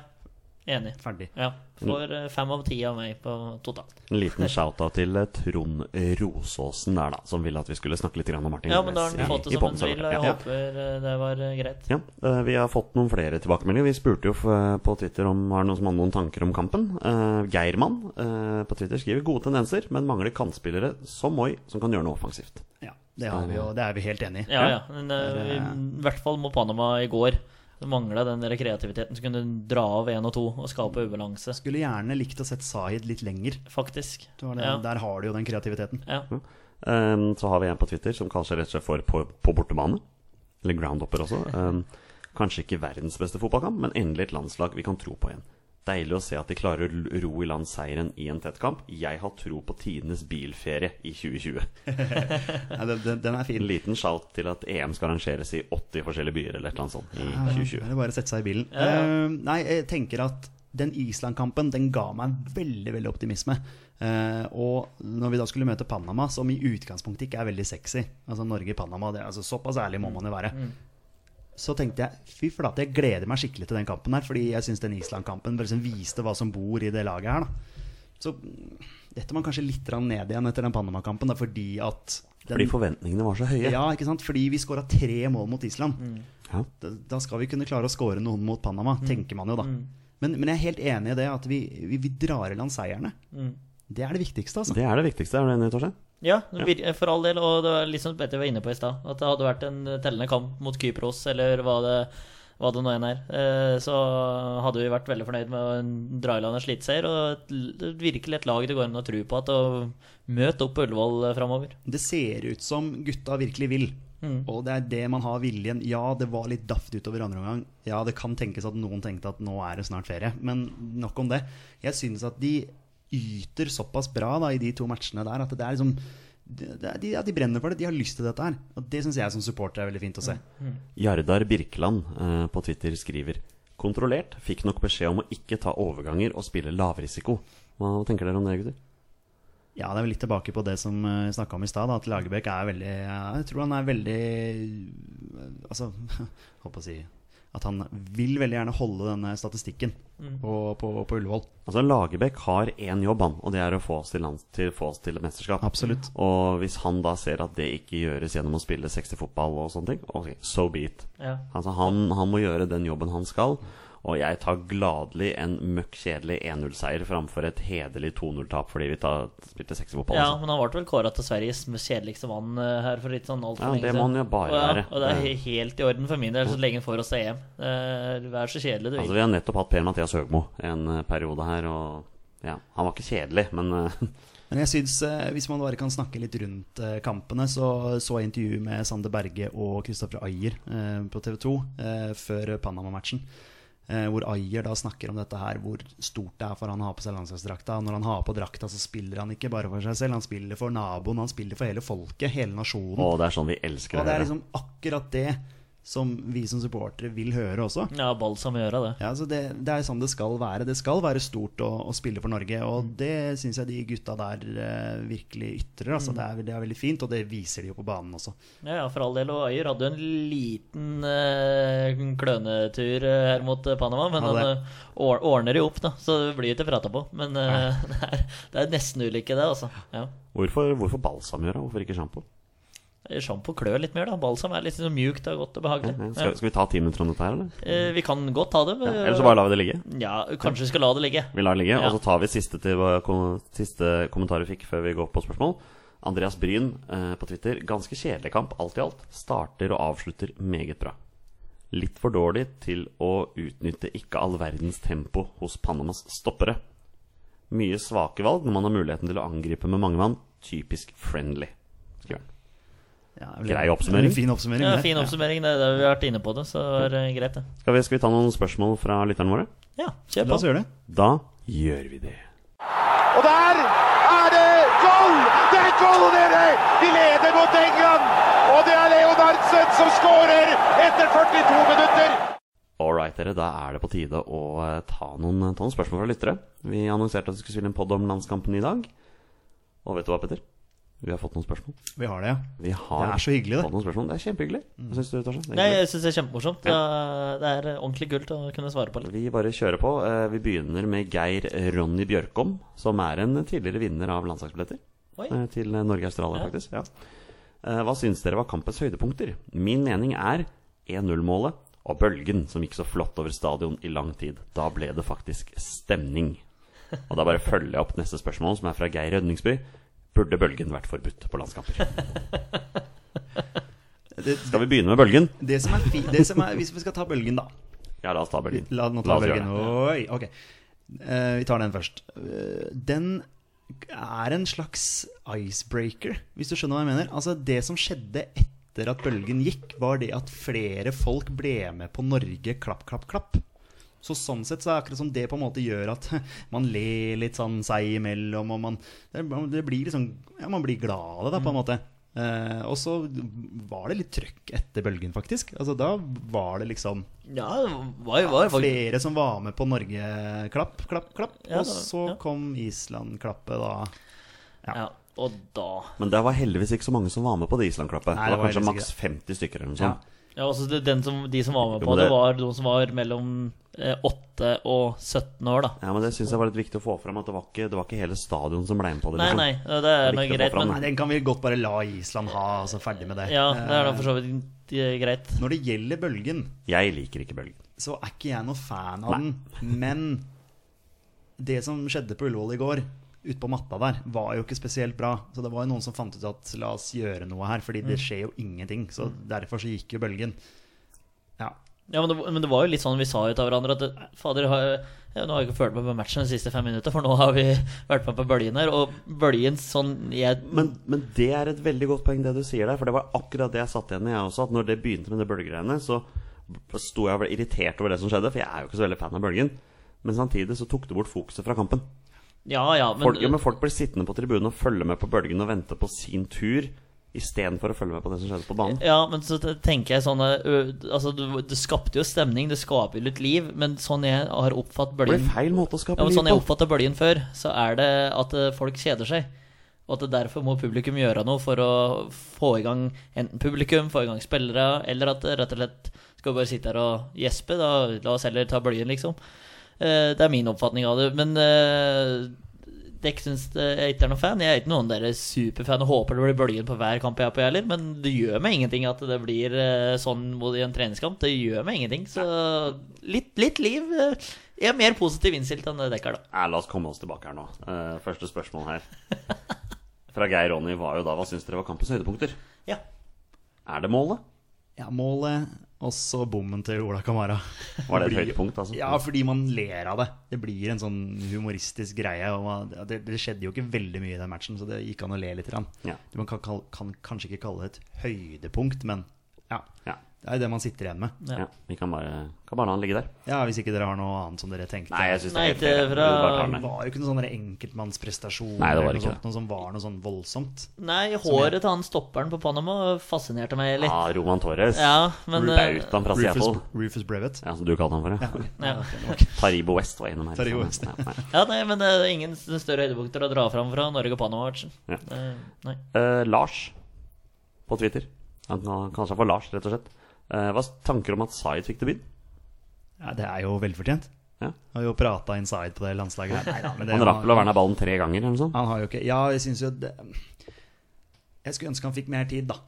D: enig.
C: Ferdig.
D: Ja. Får eh, fem av ti av meg på totalt.
B: En liten shout-out til eh, Trond Rosåsen der, da, som ville at vi skulle snakke litt grann om Martin
D: Ja, men da har
B: Linnes
D: han fått
B: i-
D: det
B: i
D: som han
B: Poddensølet.
D: vil, og jeg
B: Ja.
D: håper eh, det var eh, greit.
B: Ja, eh, Vi har fått noen flere tilbakemeldinger. Vi spurte jo f- eh, på Twitter om har noen som hadde noen tanker om kampen. Eh, Geirmann eh, på Twitter skriver gode tendenser, men mangler kantspillere som Moi, som kan gjøre noe offensivt.
C: Ja, det, har vi, jo, det er vi helt enig i.
D: Ja, ja. Men, eh, I hvert fall mot Panama i går. Det mangla den der kreativiteten som kunne dra av én og to og skape ubalanse,
C: Skulle gjerne likt å sett Zaid litt lenger.
D: faktisk.
C: Det var det,
D: ja.
C: Der Hm? har du jo den kreativiteten.
D: Ja.
B: Um, så har vi en på Twitter som kaller seg rett og slett for på, på bortebane. Eller groundhopper også. Um, kanskje ikke verdens beste fotballkamp, men endelig et landslag vi kan tro på igjen. Deilig å se at de klarer å l- ro i land seieren i en tettkamp. Jeg har tro på tidenes bilferie i 2020.
C: Nei, den, den- den er
B: En
C: fin.
B: liten shout til at EM skal arrangeres i 80 forskjellige byer eller et eller annet sånt i
C: Da
B: 2020.
C: er det bare å sette seg i bilen. Eh, nei, jeg tenker at den Island-kampen den ga meg veldig veldig optimisme. Eh, og når vi da skulle møte Panama, som i utgangspunktet ikke er veldig sexy Altså Norge-Panama, det er- altså, såpass ærlig må man jo være. Så tenkte jeg fy flate, jeg gleder meg skikkelig til den kampen her. Fordi jeg syns den Island-kampen liksom viste hva som bor i det laget her. da Så mm, detter man kanskje litt grann ned igjen etter den Panama-kampen, da, fordi at den,
B: Fordi forventningene var så høye.
C: Ja, ikke sant? Fordi vi skåra tre mål mot Island
B: Ja.
C: da, da skal vi kunne klare å score noen mot Panama, tenker man jo da. Men, men jeg er helt enig i det at vi, vi, vi drar i land seierne. Det er det viktigste, altså.
B: Det er det viktigste, er du enig, Torstein?
D: Ja, vir- for all del, og det var litt som Petter var inne på i stad, at det hadde vært en tellende kamp mot Kypros, eller hva det, hva det nå enn er, eh, så hadde vi vært veldig fornøyd med å dra i land en slitseier, og et- det er virkelig et lag det går an å tro på at å møte opp på Ullevål eh, framover.
C: Det ser ut som gutta virkelig vil. Og det er det man har viljen. Ja, det var litt daft utover andre omgang. Ja, det kan tenkes at noen tenkte at nå er det snart ferie, men nok om det. Jeg synes at de yter såpass bra da, i de to matchene der at det er liksom det det er, de, ja, de brenner for det, de har lyst til dette her. Og det syns jeg som supporter er veldig fint å se.
B: Jardar Birkeland eh, på Twitter skriver Kontrollert fikk nok beskjed om å ikke ta overganger og spille lavrisiko. Hva tenker dere om det, gutter?
C: Ja, det er vel litt tilbake på det som eh, vi snakka om i stad, da, at Lagerbäck er veldig ja, Jeg tror han er veldig eh, Altså, *laughs* jeg holdt på å si At han vil veldig gjerne holde denne statistikken på, på, på Ullevål.
B: Altså Lagerbäck har én jobb, han, og det er å få oss til, lands, til, få oss til mesterskap.
C: Absolutt.
B: Og hvis han da ser at det ikke gjøres gjennom å spille 60 fotball og sånne ting, ok, so be it.
D: Ja.
B: Altså han, han må gjøre den jobben han skal, og jeg tar gladelig en møkk kjedelig 1-0-seier framfor et hederlig 2-0-tap fordi vi tar, spilte 60 fotball.
D: Ja,
B: altså.
D: men han ble vel kåra til Sveriges mest kjedeligste mann eh, her for litt sånn altfor
B: Ja,
D: lenge
B: det må han jo bare
D: og,
B: være.
D: Og det er he- helt i orden for min del, så lenge han får oss til EM. Eh, Vær så kjedelig du vil.
B: Altså, vi har nettopp hatt Per-Mathias Høgmo en eh, periode her, og ja, han var ikke kjedelig, men eh,
C: Men jeg syns, eh, hvis man bare kan snakke litt rundt eh, kampene, så så jeg intervju med Sander Berge og Kristoffer Ayer eh, på TV 2 eh, før Panama-matchen. Eh, hvor Ayer da snakker om dette her, hvor stort det er for han å ha på seg landslagsdrakta. Når han har på drakta, så spiller han ikke bare for seg selv, han spiller for naboen, han spiller for hele folket, hele nasjonen.
B: å, det er sånn vi elsker
C: Og
B: å
C: det er
B: høre.
C: liksom akkurat det som vi som supportere vil høre også.
D: Ja, balsam i øra, det.
C: Ja, altså det, det er sånn det skal være. Det skal være stort å, å spille for Norge,
B: Mm.
C: og det syns jeg de gutta der eh, virkelig ytrer. Altså,
B: Mm.
C: det, er, det er veldig fint, og det viser de jo på banen også.
D: Ja, ja, for all del. Og Ayer hadde jo en liten eh, klønetur eh, her mot eh, Panama, men
C: Hadde det.
D: han eh, or- ordner jo opp, da, så det blir ikke prata på. Men eh, *laughs* det, er, det er nesten ulykke, det, altså. Ja.
B: Hvorfor, hvorfor balsam gjøre? Hvorfor ikke sjampo?
D: Sjampo klør litt mer, da. Balsam er litt sånn mjukt og godt og behagelig.
B: Ja,
D: Ja.
B: Eh, Skal, skal vi ta ti minutter om dette her, eller?
D: Eh, Vi kan godt ta det. men-
B: Eller så bare lar vi det ligge?
D: Ja, kanskje vi skal la det ligge.
B: Vi lar det ligge,
D: Ja.
B: og så tar vi siste, til, kom- siste kommentar vi fikk før vi går på spørsmål. Andreas Bryn eh, på Twitter. Ganske kjedelig kamp, alt i alt. Starter og avslutter meget bra. Litt for dårlig til å utnytte ikke all verdens tempo hos Panamas stoppere. Mye svake valg når man har muligheten til å angripe med mange mann. Typisk friendly. skriver han.
C: Ja, det er vel-
B: Grei oppsummering.
C: En Fin oppsummering.
D: Ja,
C: det.
D: fin oppsummering. Det, det, vi har vært inne på det, så det er eh, greit, det.
B: Skal vi, skal vi ta noen spørsmål fra lytterne våre?
D: Ja,
C: Ja.
D: kjør
C: La
D: på.
C: oss gjøre det.
B: Da gjør vi det.
A: Og der er det goal! Det er goal, dere! De leder mot England. Og det er Leonardsen som skårer etter 42 minutter.
B: Alright, dere. Da er det på tide å eh, ta noen, ta noen spørsmål fra lyttere. Vi annonserte at vi skulle spille en podd om landskampen i dag. Og vet du hva, Petter? Vi har fått noen spørsmål.
C: Vi har det, ja.
B: Vi har
C: Det er så hyggelig, det. Mm.
B: fått noen spørsmål. Det er kjempehyggelig. Hva syns du, Torstein? Det er
D: Nei,
B: hyggelig.
D: jeg syns det er kjempemorsomt. Det er- Det er eh, ordentlig gult å kunne svare på litt.
B: Vi bare kjører på. Eh, Vi begynner med Geir Ronny Bjørkom, som er en tidligere vinner av landslagsbilletter.
D: Oi.
B: Eh, Til eh, Norge-Australia, faktisk. Ja. Eh, Hva syns dere var kampens høydepunkter? Min mening er 1-0-målet og bølgen som gikk så flott over stadion i lang tid. Da ble det faktisk stemning. Og da bare følger jeg opp neste spørsmål, som er fra Geir Rødningsby. Burde bølgen vært forbudt på landskamper?
C: Det,
B: Skal vi begynne med bølgen?
C: det som er fi, det som er, hvis vi skal ta bølgen, da.
B: Ja, la oss ta bølgen.
C: La, nå tar
B: oss
C: vi
B: gjøre
C: bølgen.
B: det.
C: Oi, ok. Eh, vi tar den først. Eh, den er en slags icebreaker, hvis du skjønner hva jeg mener. Altså, det som skjedde etter at bølgen gikk, var det at flere folk ble med på Norge klapp, klapp, klapp. Så sånn sett så er det akkurat som det på en måte gjør at *laughs* man ler litt sånn seg imellom, og man, det, det blir liksom, ja, man blir glad av det, da,
B: Mm.
C: på en måte. Eh, og så var det litt trøkk etter bølgen, faktisk. Altså, da var det liksom
D: Ja, det var jo var, jo faktisk-
C: Flere som var med på Norge. Klapp, klapp, klapp.
D: Ja,
C: og
D: det var-
C: så
D: ja.
C: kom Island-klappet, da.
D: Ja, og da
B: Men det var heldigvis ikke så mange som var med på det Island-klappet.
C: Nei,
B: Det var
C: det var
B: kanskje
C: heldigvis
B: maks 50 stykker eller noe
C: Ja.
B: sånt.
D: ja, altså det, den som, De som var med
B: Jo, men
D: på det,
B: det-
D: var de som var mellom eh, 8 og 17 år, da.
B: Ja, men det syns jeg var litt viktig å få fram. At det var ikke, det var ikke hele stadion som ble med på det.
D: Nei,
B: liksom.
D: nei, det
B: Det
D: er
B: er
D: noe
B: viktig å få
D: greit,
B: fram,
D: men
C: Nei, den kan vi godt bare la Island ha, altså ferdig med det.
D: Ja, det er da
C: Eh,
D: for så vidt eh, greit.
C: Når det gjelder bølgen,
B: Jeg liker ikke bølgen.
C: så er ikke jeg noe fan av
B: Nei.
C: den. Men det som skjedde på Ullevål i går, ute på matta der var jo ikke spesielt bra. Så det var jo noen som fant ut at la oss gjøre noe her, fordi
D: Mm.
C: det skjer jo ingenting. Så derfor så gikk jo bølgen. Ja.
D: Ja, men det, men det var jo litt sånn vi sa jo til hverandre at det- Fader, har, ja, nå har jeg ikke følt meg på matchen de siste fem minutter, for nå har vi vært med på bølgen her. Og bølgen sånn jeg,
B: Men, men det er et veldig godt poeng, det du sier der. For det var akkurat det jeg satt igjen i, jeg også. At når det begynte med det bølgegreiene, så sto jeg og ble irritert over det som skjedde. For jeg er jo ikke så veldig fan av bølgen. Men samtidig så tok det bort fokuset fra kampen.
D: Ja, ja, men,
B: Folk, ja, men folk blir sittende på tribunen og følge med på bølgen og vente på sin tur. Istedenfor å følge med på det som skjedde på banen.
D: ja, men så te- tenker jeg sånn eh, ø, Altså, det, det skapte jo stemning, det skaper jo litt liv, men sånn jeg har oppfattet
B: Det blir
D: bølgen
B: feil måte å skape
D: ja, men
B: liv
D: Sånn
B: på.
D: jeg oppfatter bølgen før, så er det at eh, folk kjeder seg. Og at det derfor må publikum gjøre noe for å få i gang enten publikum, få i gang spillere, eller at det rett og slett skal vi bare sitte her og gjespe. Da la oss heller ta bølgen, liksom. Eh, Det er min oppfatning av det. Men eh, det ikke syns det- jeg ikke er noen fan. Jeg er ikke noen der superfan og håper det blir bølgen på hver kamp jeg er på, jeg heller. Men det gjør meg ingenting at det blir eh, sånn mot- i en treningskamp. Det gjør meg ingenting. Så litt, litt liv. eh, Jeg er mer positiv innstilt enn det Dekker, da.
B: Ja, la oss komme oss tilbake her nå. Eh, første spørsmål her. *laughs* Fra Geir Ronny var jo da Hva syns dere var kampens høydepunkter?
D: Ja.
B: Er det målet?
C: ja målet, og så bommen til Ola Kamara.
B: Var det et
C: Blir-
B: høydepunkt, altså?
C: Ja, fordi man ler av det. Det blir en sånn humoristisk greie. Og man, det, det skjedde jo ikke veldig mye i den matchen, så det gikk an å le litt. Grann.
B: Ja.
C: Man kan, kall- kan kanskje ikke kalle det et høydepunkt, men ja.
B: Ja.
C: Det er jo det man sitter igjen med.
B: Ja. Vi kan bare, kan bare la den ligge der.
C: Ja, Hvis ikke dere har noe annet som dere tenkte.
B: Nei, jeg syns det
D: Nei,
B: er helt
D: ikke
B: feil.
D: fra-
B: Du bare tar den
C: det
B: der.
C: var jo ikke noen sånne enkeltmannsprestasjoner
B: Nei, det var
C: eller noe
B: ikke
C: sånt, noe som var noe sånn voldsomt.
D: Nei, håret til han stopperen på Panama fascinerte meg litt.
B: Ja, Ah, Roman Torres.
D: Ja, men eh,
B: Bautan fra
C: Rufus,
B: Seattle.
C: Rufus Brevet.
B: Ja, som du kalte han for. Ja.
D: ja.
B: Taribo West var innom her.
C: Taribo West.
B: Ja, nei.
D: *laughs* ja, nei, men eh, ingen større høydepunkter å dra fram fra Norge og Panama-matchen.
B: Ja.
D: Eh, Nei.
B: Eh, Lars på Twitter. Han kan- kaller seg for Lars, rett og slett. Eh, hva s- tanker om at Zaid fikk debut?
C: Ja, det er jo velfortjent.
B: Ja.
C: Har jo prata inside på det landslaget. Nei, da, men det
B: Han rakk
C: var-
B: vel å verne ballen tre ganger, eller noe sånt?
C: Han har jo ikke Ja, jeg syns jo det, Jeg skulle ønske han fikk mer tid, da.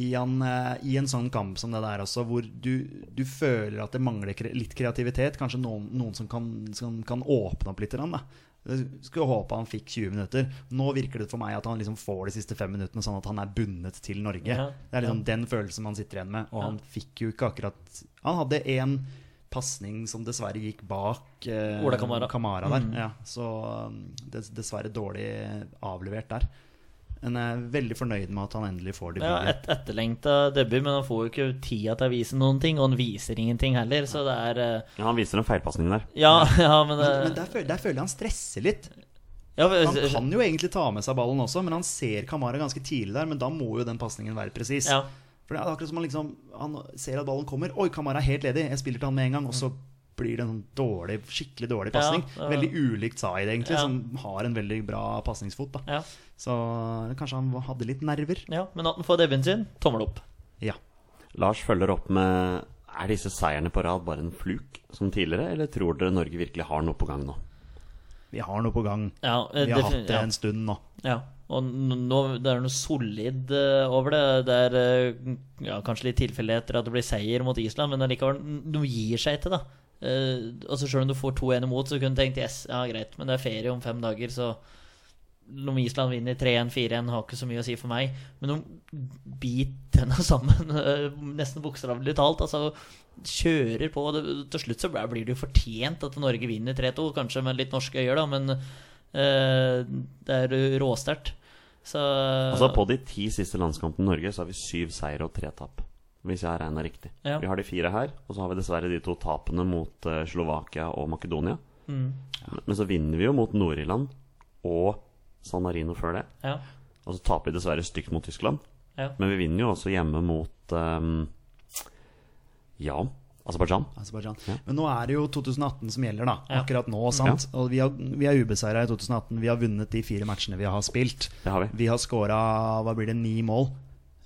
C: I en, eh, I en sånn kamp som det der også, hvor du, du føler at det mangler kre litt kreativitet. Kanskje noen, noen som, kan, som kan åpne opp litt. grann, Da. Jeg skulle håpe han fikk 20 minutter. Nå virker det for meg at han liksom får de siste fem minuttene, sånn at han er bundet til Norge.
D: Ja.
C: Det er liksom den følelsen man sitter igjen med. Og han fikk jo ikke akkurat Han hadde én pasning som dessverre gikk bak eh,
D: Ola Kamara. Mm.
C: Kamara der. Ja, så um, dess- dessverre dårlig avlevert der. Men jeg er veldig fornøyd med at han endelig får det.
D: Ja,
C: bildet.
D: et etterlengta debut, men han får jo ikke tida til å vise noen ting, og han viser ingenting heller, så det er eh,
B: Ja, han viser en feilpasning der.
D: Ja, *laughs* ja, men,
C: Men,
D: eh,
C: men der, føler, der føler jeg han stresser litt.
D: ja,
C: Han
D: men- eh,
C: kan jo egentlig ta med seg ballen også, men han ser Kamara ganske tidlig der. Men da må jo den pasningen være presis.
D: Ja.
C: For det er akkurat som han liksom Han ser at ballen kommer. Oi, Kamara er helt ledig. Jeg spiller til han med en gang. Og så blir det en sånn dårlig, skikkelig dårlig pasning.
D: Ja, ja.
C: Veldig ulikt Zaid, egentlig,
D: Ja.
C: som har en veldig bra pasningsfot. da.
D: ja,
C: Så kanskje han hadde litt nerver.
D: ja, men at han får debuten sin, tommel opp.
C: Ja.
B: Lars følger opp med Er disse seierne på rad bare en fluk som tidligere, eller tror dere Norge virkelig har noe på gang nå?
C: Vi har noe på gang.
D: Ja, eh,
C: Vi har
D: defin-
C: hatt det
D: ja.
C: en stund nå.
D: Ja, og n- nå, det er noe solid eh, over det. Det er eh, ja, kanskje litt tilfeldigheter at det blir seier mot Island, men allikevel, n- de gir seg ikke, da. Eh, altså Selv om du får 2-1 imot, så kunne du tenkt yes, ja greit, men det er ferie om fem dager, så om Island vinner 3-1, 4-1, har ikke så mye å si for meg. Men de biter tenna sammen, *laughs* eh, nesten bokstavelig talt. Altså, kjører på. Det- Til slutt så blir det jo fortjent at Norge vinner 3-2, kanskje med litt norske øyer, da, men Eh, det er råsterkt. Så
B: Altså På de ti siste landskampene i Norge så har vi syv seier og tre tap. Hvis jeg har regna riktig.
D: Ja.
B: Vi har de fire her, og så har vi dessverre de to tapene mot eh, Slovakia og Makedonia. Men- Men så vinner vi jo mot Nord-Irland og San Marino før det.
D: ja,
B: Og så taper vi dessverre stygt mot Tyskland.
D: ja.
B: Men vi vinner jo også hjemme mot ehm, Ja, Aserbajdsjan.
C: Aserbajdsjan.
B: Ja.
C: Men nå er det jo 2018 som gjelder, da.
D: Ja.
C: Akkurat nå, sant. Og vi, har, vi er ubeseira i 2018. Vi har vunnet de fire matchene vi har spilt.
B: Det har vi.
C: Vi har skåra hva blir det, ni mål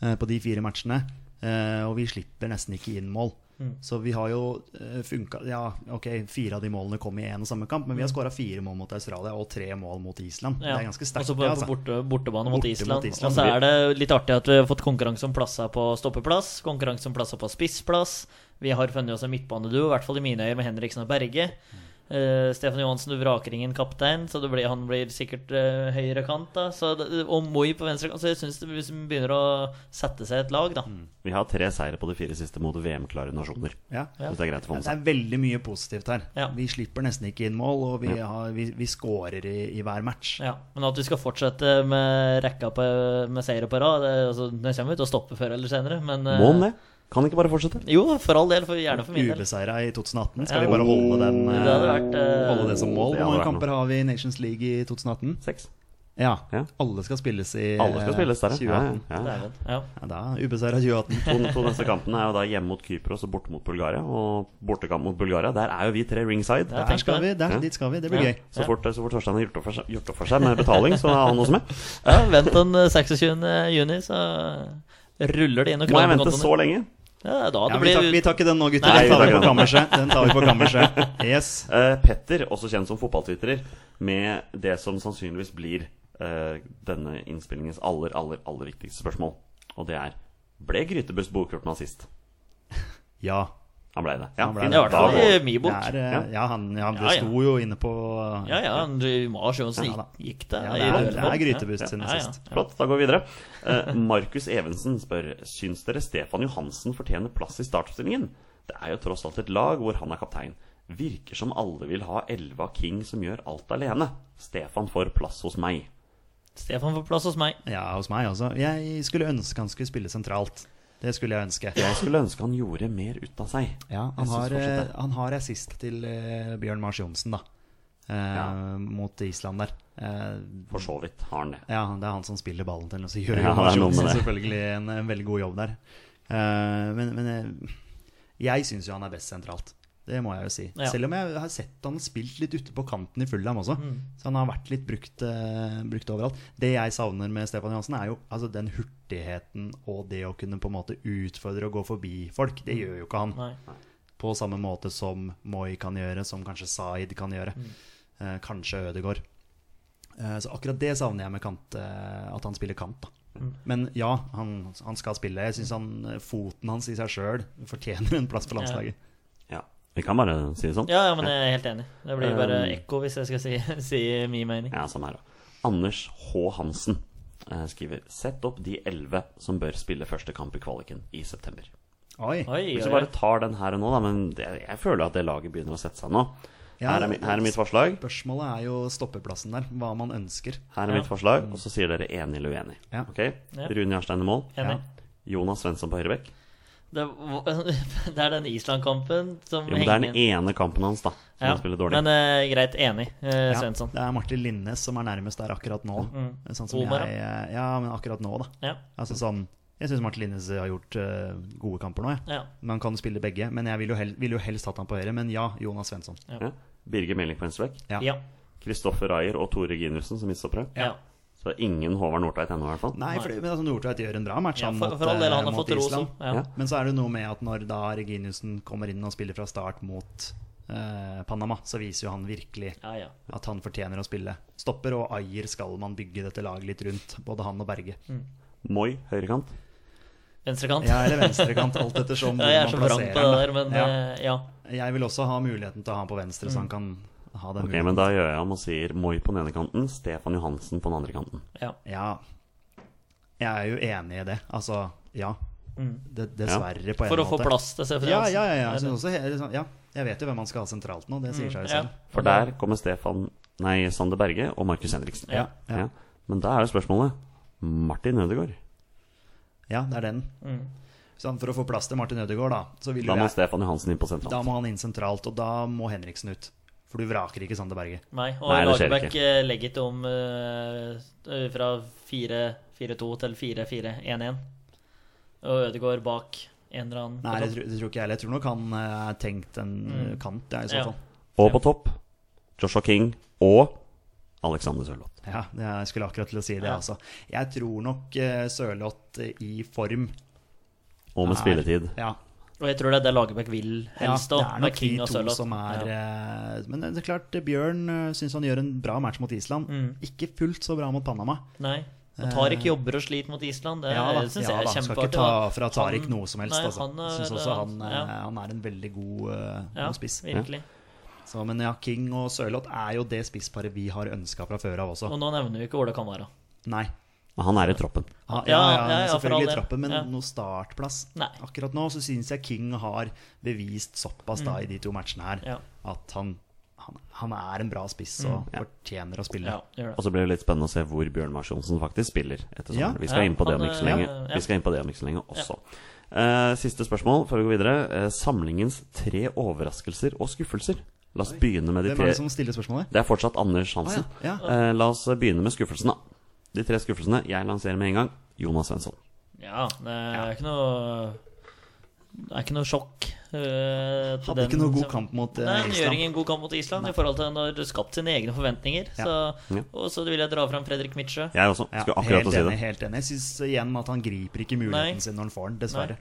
C: eh, på de fire matchene. Eh, og vi slipper nesten ikke inn mål.
D: Mm.
C: Så vi har jo eh, funka Ja, ok, fire av de målene kom i én og samme kamp, men vi har skåra fire mål mot Australia og tre mål mot Island.
D: Mm. Ja.
C: Det er ganske sterkt. altså.
D: Også på,
C: det,
D: på borte, bortebane mot
C: Borte mot
D: Island.
C: Island.
D: Og så er det litt artig at vi har fått konkurranse om plasser på stoppeplass,
C: Mm.
D: konkurranse om plasser på spissplass. Vi har funnet oss en midtbaneduo, i hvert fall i mine øyne, med Henriksen og Berge. Eh, Stefan Johansen du vraker ingen kaptein, så det blir, han blir sikkert eh, høyre kant. Da. Så, det- og Moi på venstre kant. Så jeg syns det hvis vi begynner å sette seg et lag, da.
C: Mm.
B: Vi har tre seire på de fire siste mot VM-klare nasjoner.
C: Ja.
B: Hvis det er greit å få med
C: Det
B: seg.
C: er veldig mye positivt her.
D: Ja.
C: Vi slipper nesten ikke inn mål, og vi, har, vi, vi scorer i, i hver match.
D: Ja, Men at vi skal fortsette med rekka på, med seire på rad det, altså, Den kommer jo til å stoppe før eller senere, men eh,
B: Må han det? Kan ikke bare fortsette?
D: Jo, for all del. For, gjerne for min del.
C: Ubeseira i 2018.
D: Ja.
C: Skal vi bare holde, den,
D: Det
C: eh,
D: hadde vært eh,
C: holde det som mål?
B: Det hadde
C: Hvor mange
B: vært
C: kamper har vi i Nations League i 2018?
B: Seks.
C: Ja.
B: Ja.
C: Alle skal spilles i
B: Alle skal
C: eh,
B: spilles der, ja.
C: 2018.
B: ja, ja.
D: Dæven. Ja.
C: Ja, da Ubeseira
D: *laughs*
C: 2018.
B: To, to neste kampene er jo da hjemme mot Kypros og borte mot Bulgaria. Og bortekamp mot Bulgaria, der er jo vi tre ringside.
D: Ja.
C: Der skal vi,
B: Ja.
C: der, Dit skal vi. Det blir
D: Ja.
C: gøy.
B: Så fort, så fort Torstein har gjort opp for seg- gjort opp for seg med betaling, så er han også med.
D: ja, vent den eh, 26. juni, så ruller det inn og
B: Må jeg
D: kraner
B: vente
D: kontoene.
B: så lenge?
D: Ja, da
C: Ja,
D: det
C: vi,
D: blir
C: tar, vi tar ikke den nå, gutter.
B: Nei,
C: Den tar vi
B: vi
C: på
B: tar
C: kammerset. Den tar vi på kammerset. Yes.
B: Eh, Petter, også kjent som fotballtwitterer, med det som sannsynligvis blir eh, denne innspillingens aller, aller, aller viktigste spørsmål. Og det er Ble Grytebust bokført nazist?
C: Ja.
B: Han ble det. Ja,
C: Han ble
B: fint.
D: Det er i hvert
B: Da
D: fall
B: går
D: i
B: det.
D: mi
C: Det
D: bok.
C: er, eh, ja, han, ja,
D: Ja,
C: det
D: ja.
C: sto jo inne på
D: Ja, ja, du må ha skjønt
C: Ja, da.
D: hvordan det gikk det.
C: Ja,
D: i
C: det er-
D: Rødebo.
C: det er Grytebust sin
D: Ja, ja.
C: sist.
B: Flott, da går vi videre. Eh, Markus Evensen spør Syns dere Stefan Johansen fortjener plass i startoppstillingen. Det er jo tross alt et lag hvor han er kaptein. Virker som alle vil ha Elva King som gjør alt alene. Stefan får plass hos meg.
D: Stefan får plass hos meg.
C: Ja, hos meg også. Jeg skulle ønske han skulle spille sentralt. Det skulle jeg ønske.
B: Jeg skulle ønske han gjorde mer ut av seg.
C: Ja,
B: Jeg
C: han
B: synes
C: har,
B: fortsatt
C: eh,
B: det.
C: han har assist til eh, Bjørn Mars Johnsen, da. Eh,
B: Ja.
C: Mot Island der. Eh,
B: For så vidt har han det.
C: ja, det er han som spiller ballen til, og så gjør
B: Ja,
C: jo
B: det
C: Mars
B: er noe med
C: Johnsen
B: det.
C: selvfølgelig en, en veldig god jobb der. Eh, men men jeg, jeg syns jo han er best sentralt. Det må jeg jo si.
D: Ja.
C: Selv om jeg har sett han spilt litt ute på kanten i Fulham også.
B: Mm.
C: Så han har vært litt brukt, eh, brukt overalt. Det jeg savner med Stefan Johansen, er jo altså, den hurtigheten og det å kunne på en måte utfordre og gå forbi folk.
B: Mm.
C: Det gjør jo ikke han
D: Nei.
C: på samme måte som Moi kan gjøre, som kanskje Zaid kan gjøre. Eh, kanskje Ødegaard. Eh, så akkurat det savner jeg med kant, eh, at han spiller kant. da. Men ja, han, han skal spille. Jeg syns han, eh, foten hans i seg sjøl fortjener en plass på landslaget.
B: Ja. Vi kan bare si det sånn.
D: Ja, ja, men jeg er helt enig. Det blir bare
B: Um,
D: ekko hvis jeg skal si, *laughs* si min mening.
B: Ja, samme her. da. Anders H. Hansen eh, skriver Sett opp de elleve som bør spille første kamp i kvaliken i september.
C: Oi.
D: Oi,
B: Hvis
D: oi,
B: vi bare tar den her og nå, da, men det, jeg føler at det laget begynner å sette seg nå.
C: Ja,
B: her, er, mi- her er mitt forslag,
C: Spørsmålet er jo stoppeplassen der, hva man ønsker.
B: her er mitt forslag, og så sier dere enig eller uenig.
C: Mm. Ja.
B: Ok? Rune Jarstein i mål.
D: oi. Enig.
B: Jonas Svensson på høyrebekk.
D: Det, var- det er *laughs* den Island-kampen som
B: Jo, men det er den ene kampen hans, da, som
D: Ja,
B: han spiller dårlig.
D: Men eh, greit, enig, eh,
C: Ja,
D: Svensson.
C: det er Martin Linnes som er nærmest der akkurat nå. Sånn som
D: Omar,
C: jeg, ja, men akkurat nå, da.
D: Ja.
C: Altså sånn, jeg syns Martin Linnes har gjort eh, gode kamper nå. Jeg.
D: Ja.
C: Men han kan spille begge. Men jeg ville jo, hel, vil jo helst hatt han på høyre. Men ja, Jonas Svensson.
B: ja. Birger Meling på venstrebekk.
C: Ja.
D: Ja.
B: Kristoffer Ayer og Tore Ginussen som midtstoppere.
D: ja.
B: Så ingen Håvard Nordtveit ennå, i hvert fall.
C: Nei, for, men altså, Nordtveit gjør en bra match
D: ja
C: han
D: for,
C: mot,
D: for all del,
C: eh,
D: han har
C: mot
D: fått ros
C: Island.
D: om. Ja.
B: Ja.
C: Men så er det noe med at når da Reginiussen kommer inn og spiller fra start mot eh, Panama, så viser jo han virkelig
D: Ja, ja.
C: at han fortjener å spille. Stopper og Ayer skal man bygge dette laget litt rundt, både han og Berge.
D: Mm.
B: Moi, høyrekant.
D: Venstrekant.
C: Ja, eller venstrekant, alt ettersom
D: *laughs*
C: hvor
D: Ja, jeg er
C: man
D: så vrang
C: plasserer
D: på det der,
C: han, da.
D: men
C: ja.
D: eh, Mm. ja.
C: Jeg vil også ha muligheten til å ha han på venstre, så han kan ha den
B: Ok, men da gjør jeg om og sier Moi på den ene kanten, Stefan Johansen på den andre kanten.
D: ja.
C: Ja. Jeg er jo enig i det. Altså, ja. Det, dessverre, på en
D: Mm. For å
C: måte.
D: få plass til altså. Stefan
C: Ja,
D: Johansen.
C: ja, ja, ja. Jeg, synes også, he- liksom, ja. jeg vet jo hvem man skal ha sentralt nå, det sier seg jo
D: Mm, Ja.
C: selv.
B: For der kommer Stefan Nei, Sander Berge og Markus Henriksen.
D: Ja.
C: Ja.
B: Ja. Men da er det spørsmålet Martin Ødegaard.
C: Ja, det er den.
D: Mm.
C: Så han- for å få plass til Martin Ødegaard, da, så vil jo
B: Da må
C: jeg
B: Stefan Johansen inn på
C: Da
B: sentralt.
C: må han inn sentralt, og da må Henriksen ut. For du vraker ikke Sander Berge.
D: Nei, og
B: Nei, det skjer
D: Lagerbäck eh, legger ikke om eh, fra 4-4-2 til 4-4-1-1. Og Ødegaard bak en eller annen.
C: Nei, det tror, det tror ikke jeg heller. Jeg tror nok han eh, er tenkt en eh, kant, ja, i så
D: Mm. Ja.
C: fall.
B: Og på topp Joshua King og Alexander Sørloth.
C: Ja, det- jeg skulle akkurat til å si det,
D: Ja.
C: altså. Jeg tror nok eh, Sørloth eh, i form
B: Og med
C: er-
B: spilletid.
C: Ja.
D: Og jeg tror det er det Lagerbäck vil helst
C: ja,
D: òg,
C: det er
D: med
C: nok de
D: King og
C: to
D: Sørloth.
C: som er
D: ja.
C: eh, Men det er klart, eh, Bjørn syns han gjør en bra match mot Island.
D: Mm.
C: Ikke fullt så bra mot Panama.
D: Nei. Og Tariq jobber og sliter mot Island. Det
C: eh, Ja da,
D: synes
C: ja
D: jeg er
C: da. Skal ikke
D: kjempeartig.
C: ta
D: da.
C: fra Tariq
D: Han-
C: noe som helst.
D: nei,
C: altså.
D: han er-
C: Syns også han, eh,
D: ja.
C: han er en veldig god, eh,
D: ja,
C: god spiss.
D: Virkelig.
C: Så, men ja, King og Sørloth er jo det spissparet vi har ønska fra før av også.
D: Og nå nevner vi ikke Ole Kamara.
C: Nei.
B: Men han er i troppen.
C: Ja, ja,
D: Ja,
C: ja,
D: ja, ja, for all
C: selvfølgelig
D: del.
C: trappen, men
D: Ja.
C: noe startplass.
D: Nei.
C: Akkurat nå så syns jeg King har bevist såpass da i de to matchene her
D: Mm. Ja. Mm,
C: at han, han, han er en bra spiss og fortjener å spille.
D: Ja, gjør
B: Og
D: det.
B: så blir det litt spennende å se hvor Bjørn Mars Johnsen faktisk spiller etter
C: Ja.
B: sommeren. Vi skal
D: Ja,
B: inn på det om
D: han,
B: ikke så lenge.
D: ja, ja.
B: Vi skal inn på det om ikke så lenge også. Eh, siste spørsmål før vi går videre. Eh, samlingens tre overraskelser og skuffelser. La oss begynne med de
C: Hvem er
B: tre.
C: det som stiller spørsmålet?
B: Det er fortsatt Anders Hansen.
C: Å, ja.
B: Eh, la oss begynne med skuffelsen, da. De tre skuffelsene jeg lanserer med en gang. Jonas Svensson.
D: Ja, det er ikke noe det er ikke noe sjokk. eh, til
C: Hadde
D: den
C: ikke noe god
D: som-
C: kamp mot eh,
D: Nei, han gjør
C: Island.
D: ingen god kamp mot Island i forhold til han har skapt sine egne forventninger. Så,
B: Ja.
D: og så vil jeg dra fram Fredrik Mitsjø.
B: Jeg også.
C: Ja,
B: Skulle akkurat
C: helt
B: å si
C: enig.
B: det.
C: helt enig. Jeg syns igjen at han griper ikke muligheten
D: Nei.
C: sin når han får den, dessverre.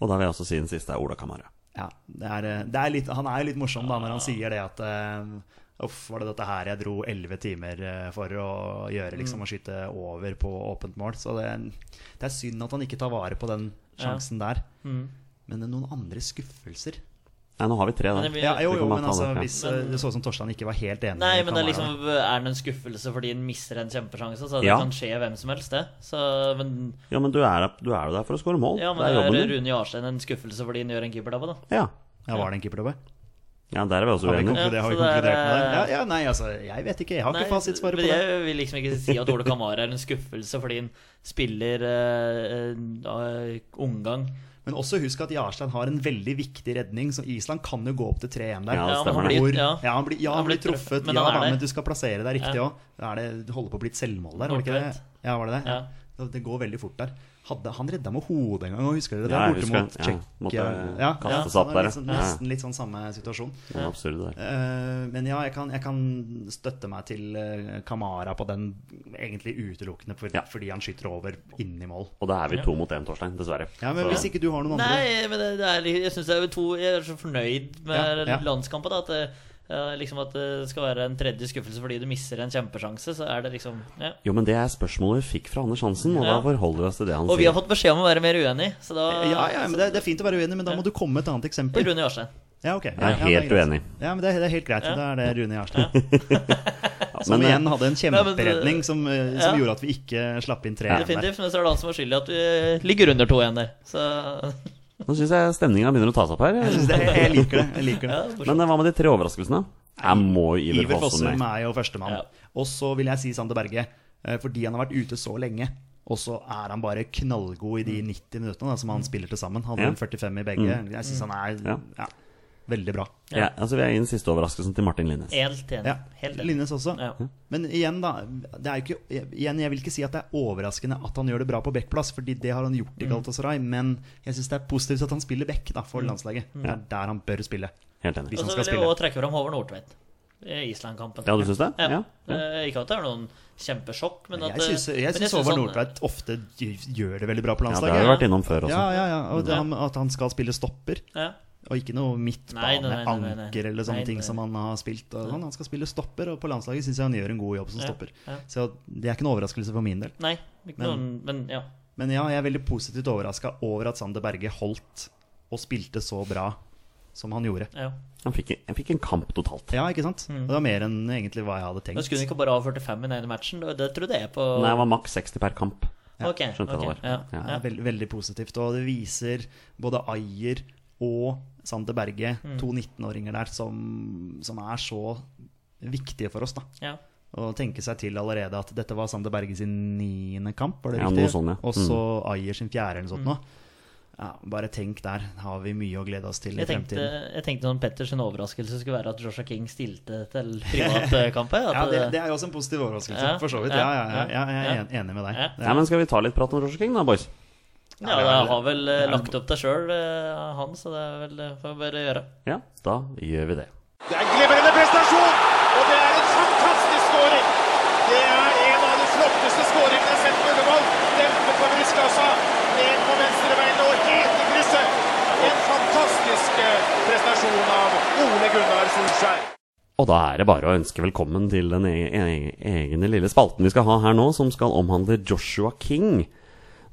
B: Og da vil jeg også si den siste er Ola Kamara.
C: Ja, det er, eh, det er litt, han er jo litt morsom da når han sier det at eh, Uff, var det dette her jeg dro elleve timer eh, for å gjøre, liksom,
D: Mm.
C: å skyte over på åpent mål? Så det, det er synd at han ikke tar vare på den sjansen der.
D: Mm.
C: Men eh, noen andre skuffelser?
B: Nei, nå har vi tre der.
D: Men det blir-
C: Ja, jo,
B: Det
C: jo,
B: kommer
C: men
B: an på
C: altså,
B: alle, ja.
C: hvis eh, det så ut som Torstein ikke var helt enig
D: Nei,
C: i
D: men det
C: Kamara.
D: er liksom Er det en skuffelse fordi en mister en kjempesjanse? Så det
B: Ja.
D: kan skje hvem som helst, det. Så, men,
B: Ja, men du er, du er jo der for å score mål.
D: ja, men
B: det er jobben din.
D: Rune Jarstein en skuffelse fordi han gjør en keepertabbe, da.
B: Ja.
C: Ja, var det en keeperdobbe?
B: ja, der er vi også
C: Har vi
B: uenige.
D: Ja,
C: konkludert, har vi
D: så det er,
C: konkludert med det? Ja,
D: eh,
C: ja, nei, altså, jeg vet ikke. Jeg har
D: Nei,
C: ikke fasitsvaret på
D: men
C: det.
D: Jeg vil liksom ikke si at Ole Kamara er en skuffelse fordi han spiller eh, eh, omgang.
C: Men også husk at Jarstein har en veldig viktig redning. Så Island kan jo gå opp til 3-1 der.
B: Ja, det
D: Ja, men
B: stemmer
D: han
B: det.
D: blir,
C: Hvor, ja,
D: ja.
C: han blir, ja, han blir truffet,
D: men
C: ja,
D: han er
C: da,
D: der.
C: men du skal plassere deg riktig òg. Det, det holder på å bli et selvmål der, var det ikke det?
D: Nordtvedt.
C: Ja, var det det?
D: Ja.
C: Ja. Det går veldig fort der. Hadde, han redda med hodet en gang, og husker dere det?
B: Ja, jeg
C: Borte
B: husker
C: mot
B: det. Ja,
C: Tsjekkia.
B: måtte kaste
C: ja,
B: seg opp
C: det var
B: der,
C: liksom-
B: ja. Ja.
C: Nesten litt sånn samme situasjon.
B: Noen absurde der.
C: Eh, men ja, jeg kan, jeg kan støtte meg til eh, Kamara på den egentlig utelukkende for,
B: Ja.
C: fordi han skyter over inn i mål.
B: Og da er vi to mot én, Torstein. Dessverre.
C: Ja, men
B: Så-
C: Hvis ikke du har noen andre
D: Nei, men det, det er, litt- jeg synes det er jo to Jeg er så fornøyd med
C: Ja, ja.
D: landskampen. Da, at det, ja, liksom at det skal være en tredje skuffelse fordi du mister en kjempesjanse. Så er det liksom ja.
B: Jo, men det er spørsmålet vi fikk fra Anders Hansen, og da
D: Ja.
B: forholder vi oss til det han
D: Og vi har
B: sier.
D: fått beskjed om å være mer uenig, så da
C: Ja, ja, men det, det er fint å være uenig, men da må du komme med et annet eksempel.
D: Rune Jarstein.
C: Ja, ok.
B: Jeg er
C: ja, det
B: helt
C: greit.
B: uenig.
C: Ja, men det er, det er helt greit.
D: Ja.
C: Da er det Rune Jarstein. Som
B: Men, eh,
C: igjen hadde en
D: men, eh,
C: kjemperedning som, eh, som
D: ja.
C: gjorde at vi ikke slapp inn tre. igjen der.
D: Definitivt. Men så er det han som er skyldig i at vi eh, ligger under 2-1 der. Så
B: Nå syns jeg stemninga begynner å ta seg opp
C: Jeg
B: her.
C: synes det, jeg
B: *laughs*
C: liker det. Jeg liker det.
D: ja, *laughs* morsomt.
B: Men eh, hva med de tre overraskelsene? Jeg må jo Iver
C: Iver
B: Fossum
C: Fossum
B: med.
C: er jo førstemann.
D: Ja.
C: Og så vil jeg si Sander Berge, eh, fordi han har vært ute så lenge. Og så er han bare knallgod i de
D: Mm.
C: 90 minuttene da, som han spiller til sammen. Han
B: Ja. Mm.
C: Hadde en 45 i begge. Jeg syns han
B: Ja.
C: er ja, veldig bra.
B: Ja, altså, vi er i den siste overraskelsen til Martin Linnes.
D: Helt enig.
C: Ja,
D: Helt enig.
C: Linnes også.
D: Ja.
B: Hm?
C: Men igjen, da. Det er jo ikke, igjen, jeg vil ikke si at det er overraskende at han gjør det bra på backplass, fordi det har han gjort i
D: Hm.
C: Galatasaray. Men jeg syns det er positivt at han spiller back da, for landslaget.
D: Hm.
C: Det er der han bør spille.
B: Helt enig.
C: Hvis
D: Og
C: han
D: så
C: skal
D: vil jeg
C: spille.
D: også trekke fram Håvard Nordtveit. i Island-kampen.
B: Ja, du syns det?
D: Ja.
B: Ja.
D: Eh, Ikke at det er noen kjempesjokk, men at eh,
C: Jeg syns,
D: men
C: jeg
D: jeg
C: syns
D: synes
C: Håvard
D: han-
C: Nordtveit ofte gjør det veldig bra på
B: Ja, det har
C: landslaget.
B: vi vært innom før også.
C: Ja, ja, ja. Og det, han, at han skal spille stopper,
D: Ja.
C: og ikke noe midtbane,
D: Nei, nei, nei, nei, nei.
C: anker eller
D: Nei,
C: sånne
D: nei.
C: ting som han har spilt. Og sånn. Han skal spille stopper, og på landslaget syns jeg han gjør en god jobb som
D: Ja,
C: stopper.
D: ja.
C: Så det er ikke noen overraskelse for min del.
D: Nei, ikke
C: Men-
D: noen, men ja.
C: Men ja, jeg er veldig positivt overraska over at Sander Berge holdt og spilte så bra som han gjorde.
D: ja.
B: Han fikk, han fikk en kamp totalt.
C: Ja, ikke sant? Det var mer enn egentlig hva jeg hadde tenkt.
D: Men Mm. skulle hun ikke bare ha 45 i den ene matchen? Det- Det trodde jeg på.
B: Nei, det var maks 60 per kamp.
D: Ok,
B: skjønte jeg det
D: ok,
B: var.
D: Ja.
B: Ja.
D: Ja.
C: Det er veld, veldig positivt, og det viser både Ayer og Sander Berge,
D: Mm.
C: to 19-åringer der, som, som er så viktige for oss, da.
D: Ja.
C: Å tenke seg til allerede at dette var Sander Berge sin niende kamp, var det
B: Ja,
C: riktig?
B: noe sånn, ja.
C: Og så Ayer sin fjerde, eller noe
D: Mm.
C: sånt nå. Ja, bare tenk der, har vi mye å glede oss til i
D: Jeg tenkte,
C: fremtiden.
D: jeg tenkte noen Petters sin overraskelse skulle være at Joshua King stilte til eh, privatkampet.
C: Ja, det, det er jo også en positiv overraskelse,
D: Ja,
C: for så vidt.
D: ja,
C: Ja, ja, ja,
D: ja,
C: ja, jeg er
D: ja.
C: en- enig med deg.
D: Ja.
C: Det
B: Nei,
C: er-
B: men Skal vi ta litt prat om Roger King, da, boys?
D: ja, det har vel eh, lagt opp til sjøl, han, så det er vel eh, får vi bare gjøre.
B: Ja, da gjør vi det.
A: Det er en glimrende prestasjon, og det er en fantastisk scoring. Det er en av de flotteste scoringene jeg har sett på Ullevål. Dempe på brystkassa, ned på venstrebeinet og helt i krysset. En fantastisk eh, prestasjon av Ole Gunnar Solskjær.
B: Og da er det bare å ønske velkommen til den e e egne lille spalten vi skal ha her nå, som skal omhandle Joshua King.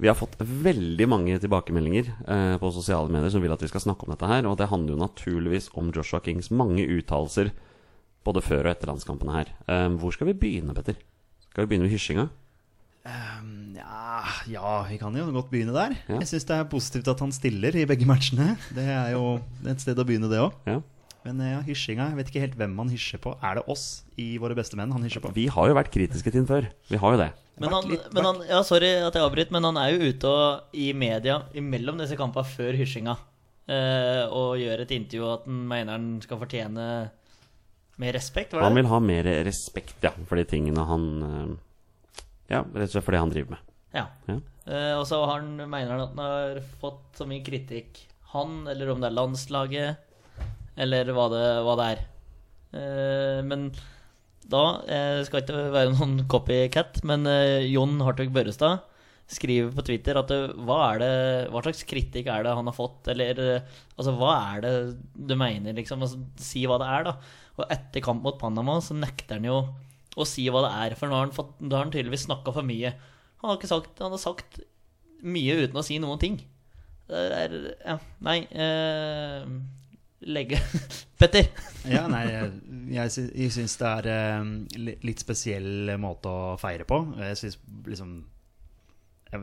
B: Vi har fått veldig mange tilbakemeldinger eh, på sosiale medier som vil at vi skal snakke om dette her, og det handler jo naturligvis om Joshua Kings mange uttalelser både før og etter landskampene her. Eh, hvor skal vi begynne, Petter? Skal vi begynne med hysjinga?
C: Ja, ja, vi kan jo godt begynne der.
B: Ja.
C: Jeg syns det er positivt at han stiller i begge matchene. Det er jo et sted å begynne, det òg.
B: Ja.
C: Men eh, ja, hysjinga, jeg vet ikke helt hvem han hysjer på. Er det oss i Våre beste menn han hysjer på?
B: Vi har jo vært kritiske til den før. Vi har jo det.
D: Men
C: Vært
D: han,
C: litt-
D: men han, ja, sorry at jeg avbryter, men han er jo ute og, i media imellom disse kampene før hysjinga eh, og gjør et intervju at han mener han skal fortjene mer respekt. Var
B: Han
D: det?
B: vil ha mer respekt ja, for de tingene han eh, Ja, rett og slett for det han driver med.
D: Ja.
B: Ja.
D: Eh, og så har han, mener han at han har fått så mye kritikk, han, eller om det er landslaget, eller hva det, hva det er. Eh, men da eh, skal ikke være noen copycat, men eh, Jon Hartvig Børrestad skriver på Twitter at eh, hva, er det, hva slags kritikk er det han har fått, eller eh, altså, hva er det du mener, liksom? Altså, si hva det er, da. Og etter kamp mot Panama så nekter han jo å si hva det er, for nå har han, fått, da har han tydeligvis snakka for mye. Han har ikke sagt Han har sagt mye uten å si noen ting. Det er Ja, nei eh, Legge *laughs* Petter!
C: Ja, nei, jeg- jeg, sy- jeg syns det er eh, li- litt spesiell måte å feire på. Jeg syns liksom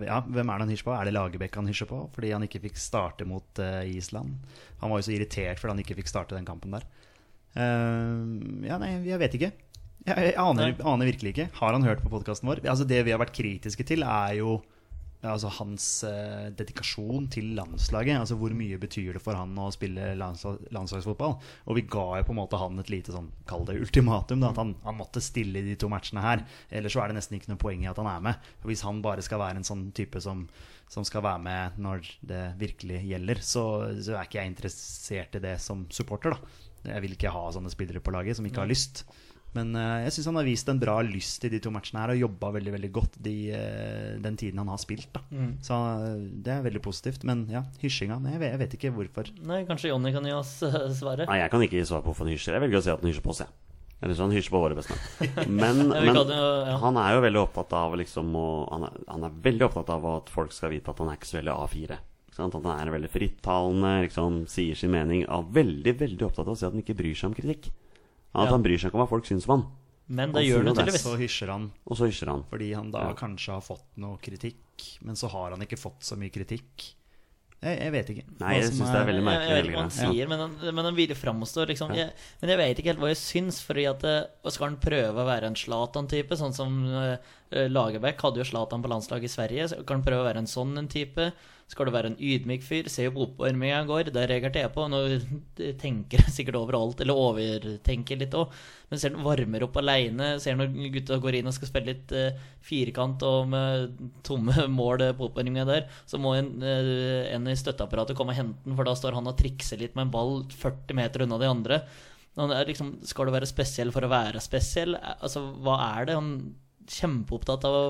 C: ja, Hvem er det han hysjer på? Er det Lagerbäck han hysjer på? Fordi han ikke fikk starte mot eh, Island. Han var jo så irritert fordi han ikke fikk starte den kampen der. Eh, ja, nei, jeg vet ikke. Jeg, jeg aner, aner virkelig ikke. Har han hørt på podkasten vår? Altså, det vi har vært kritiske til, er jo ja, altså hans eh, dedikasjon til landslaget. Altså Hvor mye betyr det for han å spille landsla- landslagsfotball? Og vi ga jo på en måte han et lite sånn, kall det ultimatum, da, at han, han måtte stille i de to matchene her. Ellers så er det nesten ikke noe poeng i at han er med. For Hvis han bare skal være en sånn type som, som skal være med når det virkelig gjelder, så, så er ikke jeg interessert i det som supporter, da. Jeg vil ikke ha sånne spillere på laget som ikke har lyst. Men eh, jeg syns han har vist en bra lyst i de to matchene her og jobba veldig veldig godt de, eh, den tiden han har spilt. Da.
B: Mm.
C: Så eh, det er veldig positivt. Men ja, hysjinga nei, jeg, vet, jeg vet ikke hvorfor.
D: Nei, kanskje Jonny kan gi oss eh, svaret?
B: Nei, jeg kan ikke gi svar på hvorfor han hysjer. Jeg velger å si at han hysjer på oss, jeg. Eller så han hysjer på våre beste.
D: *laughs*
B: Men,
D: Ja, vi
B: men
D: kan jo- ja.
B: han er jo veldig opptatt av liksom å han er, han er veldig opptatt av at folk skal vite at han er ikke så veldig A4. Ikke sant? At han er veldig frittalende, liksom sier sin mening. Er veldig, veldig opptatt av å si at han ikke bryr seg om kritikk. At
D: Ja.
B: han bryr seg ikke om hva folk syns om han.
D: Men det
B: Han
D: gjør
B: sier
D: han jo
B: det,
D: tydeligvis.
C: Så hysjer han
B: Og så hysjer han.
C: fordi han da
B: Ja.
C: kanskje har fått noe kritikk, men så har han ikke fått så mye kritikk. Jeg, jeg vet ikke.
B: Nei,
C: hva
B: jeg
C: som
B: syns det er veldig merkelig.
D: Jeg vet ikke hva han
B: velgere. Ja.
D: sier, men han, men han vil framstå liksom. jeg, Men jeg vet ikke helt hva jeg syns, fordi at eh, og Skal han prøve å være en Zlatan-type, sånn som eh, Lagerbäck hadde jo Zlatan på landslaget i Sverige, så kan han prøve å være en sånn en type? Skal du være en ydmyk fyr? Se jo på oppvarminga i går, der reagerte jeg på. Nå tenker jeg sikkert overalt, eller overtenker litt òg. Men ser han varmer opp aleine, ser når gutta går inn og skal spille litt eh, firkant og med tomme *laughs* mål eh, på oppvarminga der, så må en, eh, en i støtteapparatet komme og hente den, for da står han og trikser litt med en ball 40 meter unna de andre. Han er liksom, skal du være spesiell for å være spesiell? Eh, Altså, hva er det? Han er kjempeopptatt av å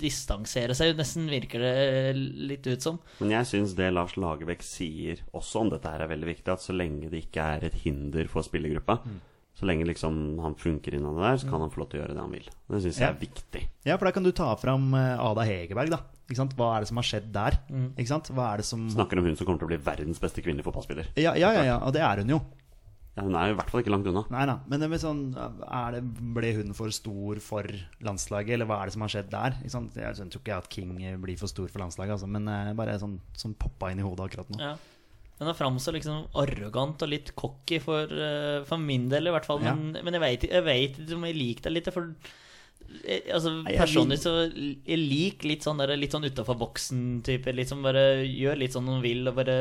D: distansere seg, nesten virker det eh, litt ut som.
B: Men jeg syns det Lars Lagerbäck sier også om dette her er veldig viktig, at så lenge det ikke er et hinder for spillergruppa,
C: Mm.
B: så lenge liksom han funker innan det der, så kan han få lov til å gjøre det han vil. Det syns jeg
C: Ja.
B: er viktig.
C: Ja, for da kan du ta fram eh, Ada Hegerberg, da. Ikke sant? Hva er det som har skjedd der?
B: Mm.
C: Ikke sant? Hva er det som
B: Snakker om hun som kommer til å bli verdens beste kvinnelige fotballspiller.
C: ja, ja, ja, ja, og det er hun jo.
B: Ja, hun er jo i hvert fall ikke langt unna.
C: Nei da, men det med sånn, er det, ble hun for stor for landslaget, eller hva er det som har skjedd der? Ikke sant? Jeg tror ikke at King blir for stor for landslaget, altså, men eh, bare sånn som poppa inn i hodet akkurat nå.
D: Ja. Men han framstår liksom arrogant og litt cocky for, eh, for min del, i hvert fall.
C: Ja.
D: Men, men jeg vet jeg vet ikke om jeg liker deg litt, for eh, altså,
C: jeg
D: personlig så jeg liker litt sånn, der, litt sånn utafor boksen-type. Litt sånn bare gjør litt sånn han vil, og bare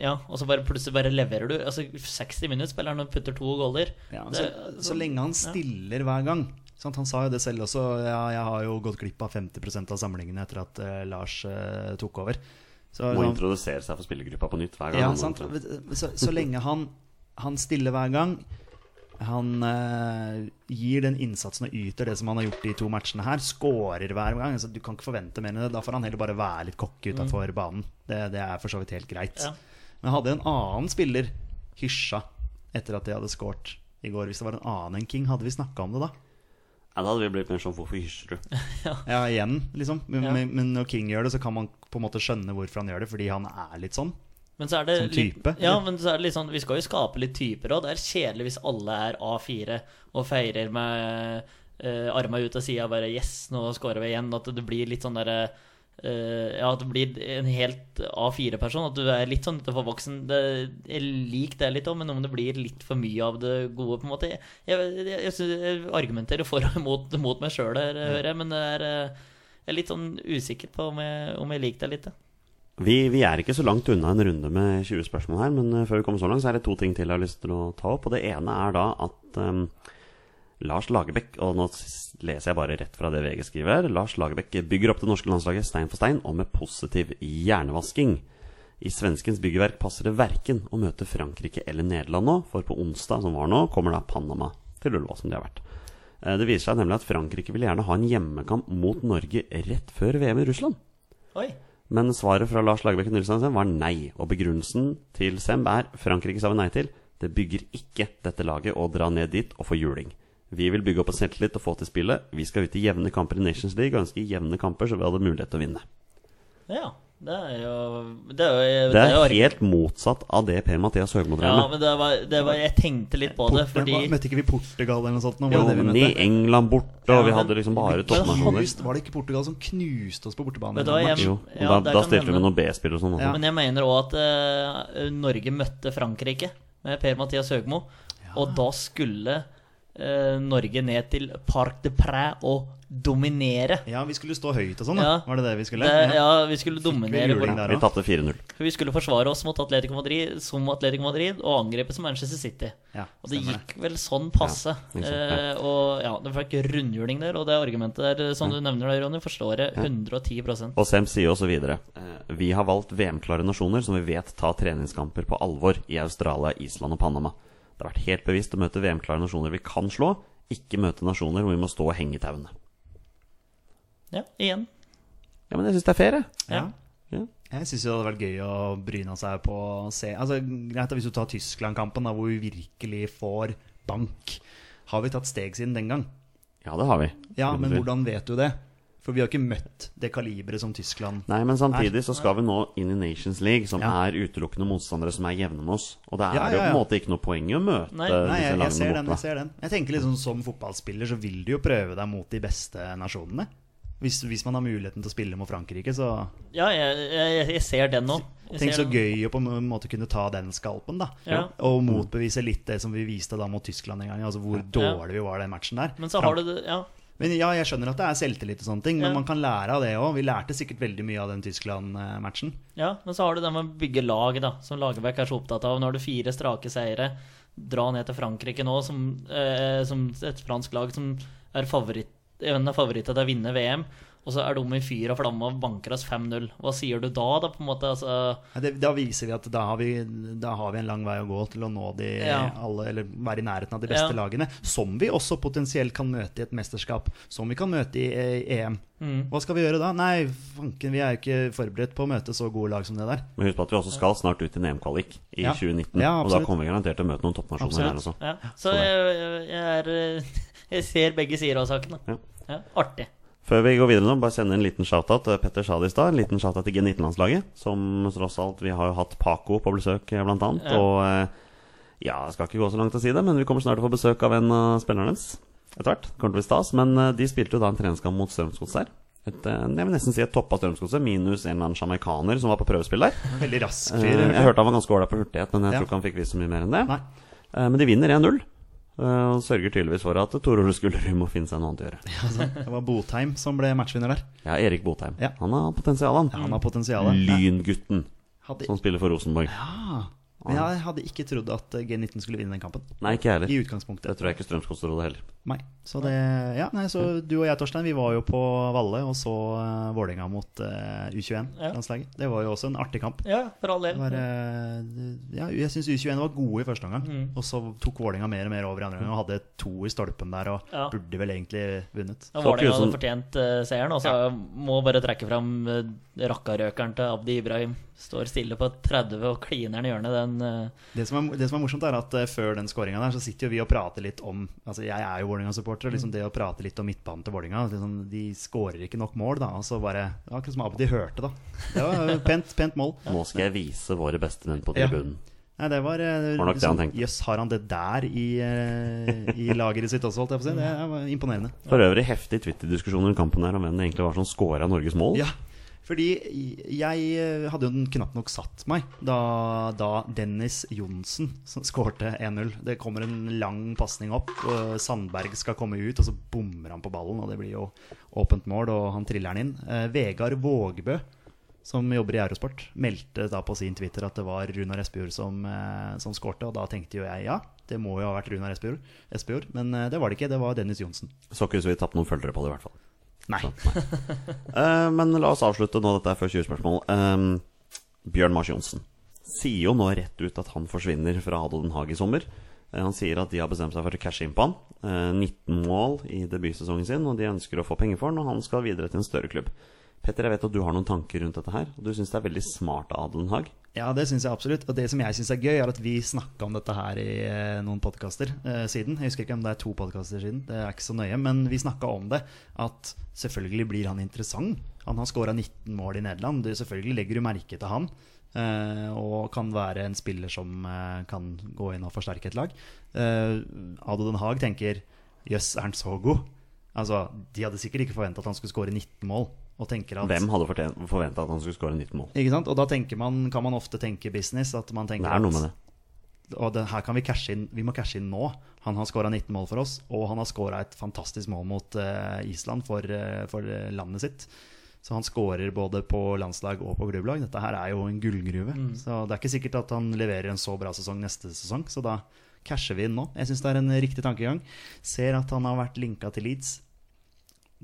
D: ja, og så bare plutselig bare leverer du. Altså 60 minutter spiller han og putter to goller.
C: Ja, så,
D: Det-
C: så lenge han stiller hver gang. Sant? Han sa jo det selv også. Ja, jeg har jo gått glipp av 50 av samlingene etter at eh, Lars eh, tok over. Så,
B: Må
C: sånn-
B: introdusere seg for spillergruppa på nytt hver gang.
C: Ja,
B: han-
C: sant? Så, så lenge han, han stiller hver gang, han eh, gir den innsatsen og yter det som han har gjort de to matchene her, skårer hver gang. Altså, du kan ikke forvente mer enn det. Da får han heller bare være litt cocky utafor banen. Det, det er for så vidt helt greit.
D: Mm. Ja.
C: Men hadde en annen spiller hysja etter at de hadde skåret i går, hvis det var en annen enn King, hadde vi snakka om det da?
B: Ja, da hadde vi blitt mer sånn Hvorfor hysjer du?
C: Ja, igjen, liksom. Men,
D: Ja.
C: men- men når King gjør det, så kan man på en måte skjønne hvorfor han gjør det, fordi han er litt sånn.
D: Men så er det
C: Som type,
D: Litt, ja, men så er det litt sånn, vi skal jo skape litt typer òg. Det er kjedelig hvis alle er A4 og feirer med uh, arma ut av sida og bare Yes, nå scorer vi igjen. At det blir litt sånn derre eh, Ja, at det blir en helt A4-person. At du er litt sånn utenfor boksen. Det, jeg liker det litt òg, men om det blir litt for mye av det gode, på en måte Jeg, jeg, jeg, jeg, synes- jeg argumenterer for og imot mot meg sjøl her, hører jeg, men det er eh, jeg er litt sånn usikker på om jeg, om jeg liker det litt. Da.
B: Vi, vi er ikke så langt unna en runde med 20 spørsmål her, men eh, før vi kommer så langt, så er det to ting til jeg har lyst til å ta opp. Og det ene er da at eh, Lars Lagerbäck, og nå s- leser jeg bare rett fra det VG skriver, Lars Lagerbäck bygger opp det norske landslaget stein for stein og med positiv hjernevasking. I svenskens byggverk passer det verken å møte Frankrike eller Nederland nå, for på onsdag som var nå, kommer da Panama til Ullevål, som de har vært. Eh, Det viser seg nemlig at Frankrike vil gjerne ha en hjemmekamp mot Norge rett før VM i Russland.
D: Oi.
B: Men svaret fra Lars Lagerbäck Nilsen Sem var nei. Og begrunnelsen til Sem er Frankrike sa vi nei til. Det bygger ikke dette laget å dra ned dit og få juling. Vi vil bygge opp en selvtillit og få til spillet. Vi skal ut i jevne kamper i Nations League og ønsker jevne kamper så vi hadde mulighet til å vinne.
D: Ja, det er jo Det er, jo,
B: Det
D: jo
B: er helt motsatt av det Per-Mathias Høgmo drev
D: Ja,
B: med.
D: men det var, det var Jeg tenkte litt på det,
C: Portugal-
D: fordi
C: Møtte ikke vi Portugal eller noe sånt? Nå,
B: Jo,
C: var det det
B: men
C: vi
B: i
C: møtte?
B: England borte, og
D: Ja,
B: vi
D: men-
B: hadde liksom bare
D: Men han-
B: toppnasjoner.
C: Knust, var det ikke Portugal som knuste oss på bortebane?
D: Vet du hva,
C: i en match?
B: Jo,
D: Ja,
B: og
D: der
B: da, da
D: kan
B: stilte vi
D: hende.
B: med noen B-spill og sånn. også.
D: Men jeg mener òg at eh, Norge møtte Frankrike med Per-Mathias Høgmo. Og da skulle eh, Norge ned til Parc de Près og dominere.
C: Ja, vi skulle stå høyt og sånn,
D: Ja.
C: da. Var det det vi skulle?
D: Det, ja, vi skulle dominere.
C: juling
D: vår-
C: der
B: Vi
C: òg.
B: tapte 4-0.
D: For vi skulle forsvare oss mot Atletico Madrid som Atletico Madrid og angripe som Manchester City.
C: Ja,
D: og det
C: stemmer det.
D: gikk vel sånn passe.
B: Ja, ikke sant, ja.
D: Eh, og ja, det fikk rundhjuling der, og det argumentet der eh, som du nevner der, Ronny, forstår jeg 110
B: Og Sem sier også videre eh, Vi har valgt VM-klare nasjoner som vi vet tar treningskamper på alvor i Australia, Island og Panama. Det har vært helt bevisst å møte VM-klare nasjoner vi kan slå, ikke møte nasjoner hvor vi må stå og henge i tauene.
D: Ja, igjen.
B: Ja, men jeg syns det er fair, jeg.
D: Ja.
B: Ja.
C: Jeg syns det hadde vært gøy å bryne seg på å se altså, Greit da, hvis du tar Tyskland-kampen, da, hvor vi virkelig får bank. Har vi tatt steg siden den gang?
B: ja, det har vi.
C: Ja, men
B: Vi-
C: hvordan vet du det? For vi har ikke møtt det kaliberet som Tyskland
B: Nei, men samtidig så skal vi nå inn i Nations League, som
C: Ja.
B: er utelukkende motstandere som er jevne med oss. Og da er
C: Ja,
B: det jo
C: ja,
B: på en
C: ja.
B: måte ikke noe poeng i å møte
D: Nei,
B: disse
C: Nei, jeg, jeg ser
B: landene
C: den.
B: borte.
C: Jeg ser den Jeg tenker liksom Som fotballspiller så vil du jo prøve deg mot de beste nasjonene. Hvis, hvis man har muligheten til å spille mot Frankrike, så
D: Ja, jeg, jeg, jeg ser den nå. Jeg
C: Tenk
D: ser
C: så
D: den.
C: gøy å på en måte kunne ta den skalpen, da.
D: Ja.
C: Og motbevise litt det som vi viste da mot Tyskland en gang, altså hvor dårlig vi var den matchen der.
D: Men så har du det Ja.
C: Men ja, jeg skjønner at det er selvtillit og sånne ting, men
D: Ja.
C: man kan lære av det òg. Vi lærte sikkert veldig mye av den Tyskland-matchen.
D: Ja, men så har du det med å bygge lag, da, som Lagerbäck er så opptatt av. Nå har du fire strake seire. Dra ned til Frankrike nå, som, eh, som et fransk lag som er favoritt, en av favorittene til å vinne VM. Og så er de i fyr og flamme og banker oss 5-0. Hva sier du da, da, på en måte? Altså,
C: Ja, det- Da viser vi at da har vi, da har vi en lang vei å gå til å nå de
D: Ja.
C: alle, eller være i nærheten av de beste
D: Ja.
C: lagene. Som vi også potensielt kan møte i et mesterskap. Som vi kan møte i eh, EM.
D: Mm.
C: Hva skal vi gjøre da? Nei, fanken, vi er jo ikke forberedt på å møte så gode lag som det der.
B: Men husk på at vi også skal snart ut i en EM-kvalik i
C: Ja.
B: 2019.
C: Ja,
B: og da
C: absolutt.
B: kommer vi garantert til å møte noen toppnasjoner her også.
D: ja. Så jeg, jeg er *laughs* eh, Jeg ser begge sider av saken. Da.
B: Ja.
D: Ja, artig.
B: Før vi går videre nå, bare sende en liten shout-out. til Petter sa det i stad. En liten shout-out til G19-landslaget. Som tross alt Vi har jo hatt Paco på besøk, eh, blant annet.
D: Ja.
B: Og eh, ja, jeg skal ikke gå så langt til å si det, men vi kommer snart til å få besøk av en av spillerne deres. Etter hvert. Det kommer til å bli stas. Men eh, de spilte jo da en treningskamp mot Strømsgodset her. Et, eh, jeg vil nesten si et toppa Strømsgodset, minus en eller annen sjamaikaner som var på prøvespill der.
C: Veldig rask
B: Eh,
C: fyr.
B: Jeg
C: hørte
B: hørte han var ganske ålreit på hurtighet, men jeg
C: Ja.
B: tror ikke han fikk vist så mye mer enn det.
C: du? Nei.
B: Eh, Men de vinner 1-0. eh, Og sørger tydeligvis for at Tor Ole Skullerud *laughs* må finne seg noe annet å gjøre.
C: Det var Botheim som ble matchvinner der.
B: Ja, Erik Botheim.
C: Ja.
B: Han har potensial, han.
C: Han har potensial.
B: Lyngutten
C: Hadde,
B: som spiller for Rosenborg.
C: ah, men jeg hadde ikke trodd at eh, G19 skulle vinne den kampen.
B: Nei, ikke jeg heller.
C: I
B: Det
C: utgangspunktet.
B: tror jeg ikke Strømsgodset-rådet heller.
C: Nei. Så det Ja, nei, så du og jeg, Torstein, vi var jo på Valle og så uh, Vålerenga mot eh, U21-landslaget. Det var jo også en artig kamp.
D: Ja, for all
C: Det
D: del.
C: var, eh, ja, jeg syns U21 var gode i første omgang, og så tok Vålerenga mer og mer over i andre omgang og hadde to i stolpen der og
D: Ja.
C: burde vel egentlig vunnet.
D: Ja,
B: Så
D: Vålerenga
B: ikke
D: hadde
B: sånn-
D: fortjent eh, seieren, og så må bare trekke fram uh, rakkarøkeren til Abdi Ibrahim. Står stille på 30 og kliner i hjørnet. Den, eh,
C: Det som, er, det som er morsomt, er at eh, før den skåringa der, så sitter jo vi og prater litt om Altså, jeg er jo Vålerenga-supportere. Liksom det å prate litt om midtbanen til Vålerenga. Liksom, de skårer ikke nok mål, da. Og så bare det var Akkurat som Abdi hørte, da. Det var eh, pent, pent mål.
B: Nå skal jeg vise våre bestemenn på
C: Ja.
B: tribunen.
C: Nei, det var, eh,
B: Var nok det han tenkte.
C: Jøss, har han det der i, eh, i lageret sitt også, holdt jeg på å si. Det var imponerende.
B: For øvrig heftig Twitter-diskusjon under kampen her om hvem det egentlig var som scora Norges mål.
C: Ja, fordi jeg eh, hadde jo den knapt nok satt meg da, da Dennis Johnsen som skårte 1-0. Det kommer en lang pasning opp. og Sandberg skal komme ut, og så bommer han på ballen. Og det blir jo åpent mål, og han triller den inn. Eh, Vegard Vågbø, som jobber i Eurosport, meldte da på sin Twitter at det var Runar Espejord som, eh, som skårte. Og da tenkte jo jeg ja, det må jo ha vært Runar Espejord, Espejord. Men eh, det var det ikke. Det var Dennis Johnsen.
B: Så ikke ut som vi tapte noen følgere på det, i hvert fall.
C: Nei.
B: Eh, men la oss avslutte nå dette er før 20 spørsmål. Ehm, Bjørn Mars Johnsen sier jo nå rett ut at han forsvinner fra Adel Den Haag i sommer. Eh, Han sier at de har bestemt seg for å cashe inn på han. Eh, 19 mål i debutsesongen sin, og de ønsker å få penger for han, og han skal videre til en større klubb. Petter, jeg vet at du har noen tanker rundt dette her, og du syns det er veldig smart av Adel Den Haag.
C: Ja, det syns jeg absolutt. Og det som jeg syns er gøy, er at vi snakka om dette her i eh, noen podkaster eh, siden. Jeg husker ikke om det er to podkaster siden, det er ikke så nøye. Men vi snakka om det, at selvfølgelig blir han interessant. Han har skåra 19 mål i Nederland. Du, selvfølgelig legger du merke til han. eh, og kan være en spiller som eh, kan gå inn og forsterke et lag. Uh, Ado Den Haag tenker jøss, er han så god? Altså, De hadde sikkert ikke forventa at han skulle skåre 19 mål. Og tenker at
B: Hvem hadde forventa at han skulle skåre 19 mål?
C: ikke sant? Og da tenker man, kan man ofte tenke business. At man tenker
B: Det er noe med det.
C: At, og det, her kan vi cashe inn Vi må cashe inn nå. Han har skåra 19 mål for oss, og han har skåra et fantastisk mål mot eh, Island for, eh, for eh, landet sitt. Så han skårer både på landslag og på klubblag. Dette her er jo en gullgruve. Så det er ikke sikkert at han leverer en så bra sesong neste sesong, så da casher vi inn nå. Jeg syns det er en riktig tankegang. Ser at han har vært linka til Leeds.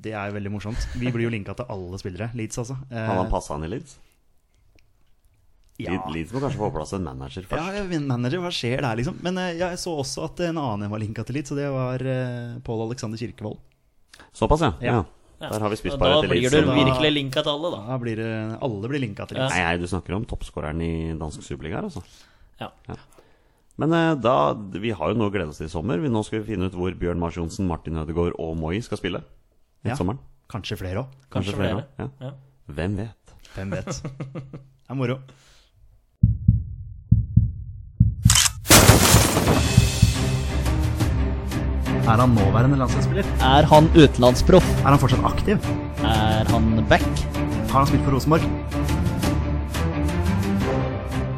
C: Det er jo veldig morsomt. Vi blir jo linka til alle spillere. Leeds, altså. Eh,
B: Hadde han passa han i Leeds?
C: ja.
B: Leeds må kanskje få på plass en manager først.
C: Ja, jeg er manager, hva skjer der, liksom? Men eh, jeg så også at en annen jeg var linka til litt, så det var eh, Pål Alexander Kirkevold.
B: Såpass, ja. ja.
C: Ja.
B: Der har vi
D: Og
B: spist
D: da
B: bare til
D: blir
B: Leeds.
D: du
B: så da-
D: virkelig linka til alle, da.
C: Da blir det Alle blir linka til litt.
B: Nei, nei, du snakker om toppskåreren i dansk superliga her, altså.
D: Ja.
B: Men eh, da, vi har jo noe å glede oss til i sommer. Vi- Nå skal vi finne ut hvor Bjørn Mars Johnsen, Martin Ødegaard og Moi skal spille. Ja.
C: Ja.
B: sommeren.
C: Kanskje flere òg.
B: Kanskje
D: Kanskje
B: flere.
D: flere.
B: Ja.
D: Ja.
B: Hvem vet?
C: Hvem
D: *laughs*
C: vet. Det er moro. Er han nåværende landslagsspiller?
D: Er han utenlandsproff?
C: Er han fortsatt aktiv?
D: Er han back?
C: Har han spilt for Rosenborg?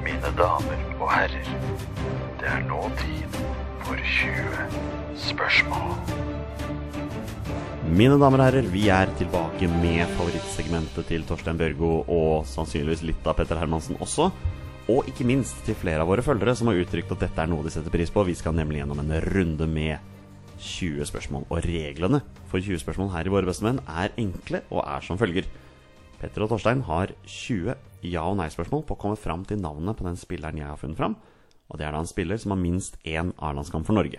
E: Mine damer og herrer, det er nå tid for 20 spørsmål.
B: Mine damer og herrer, vi er tilbake med favorittsegmentet til Torstein Børgo og sannsynligvis litt av Petter Hermansen også. Og ikke minst til flere av våre følgere som har uttrykt at dette er noe de setter pris på. Vi skal nemlig gjennom en runde med 20 spørsmål. Og reglene for 20 spørsmål her i Våre bestemenn er enkle og er som følger. Petter og Torstein har 20 ja- og nei-spørsmål på å komme fram til navnet på den spilleren jeg har funnet fram. Og det er da en spiller som har minst én A-landskamp for Norge.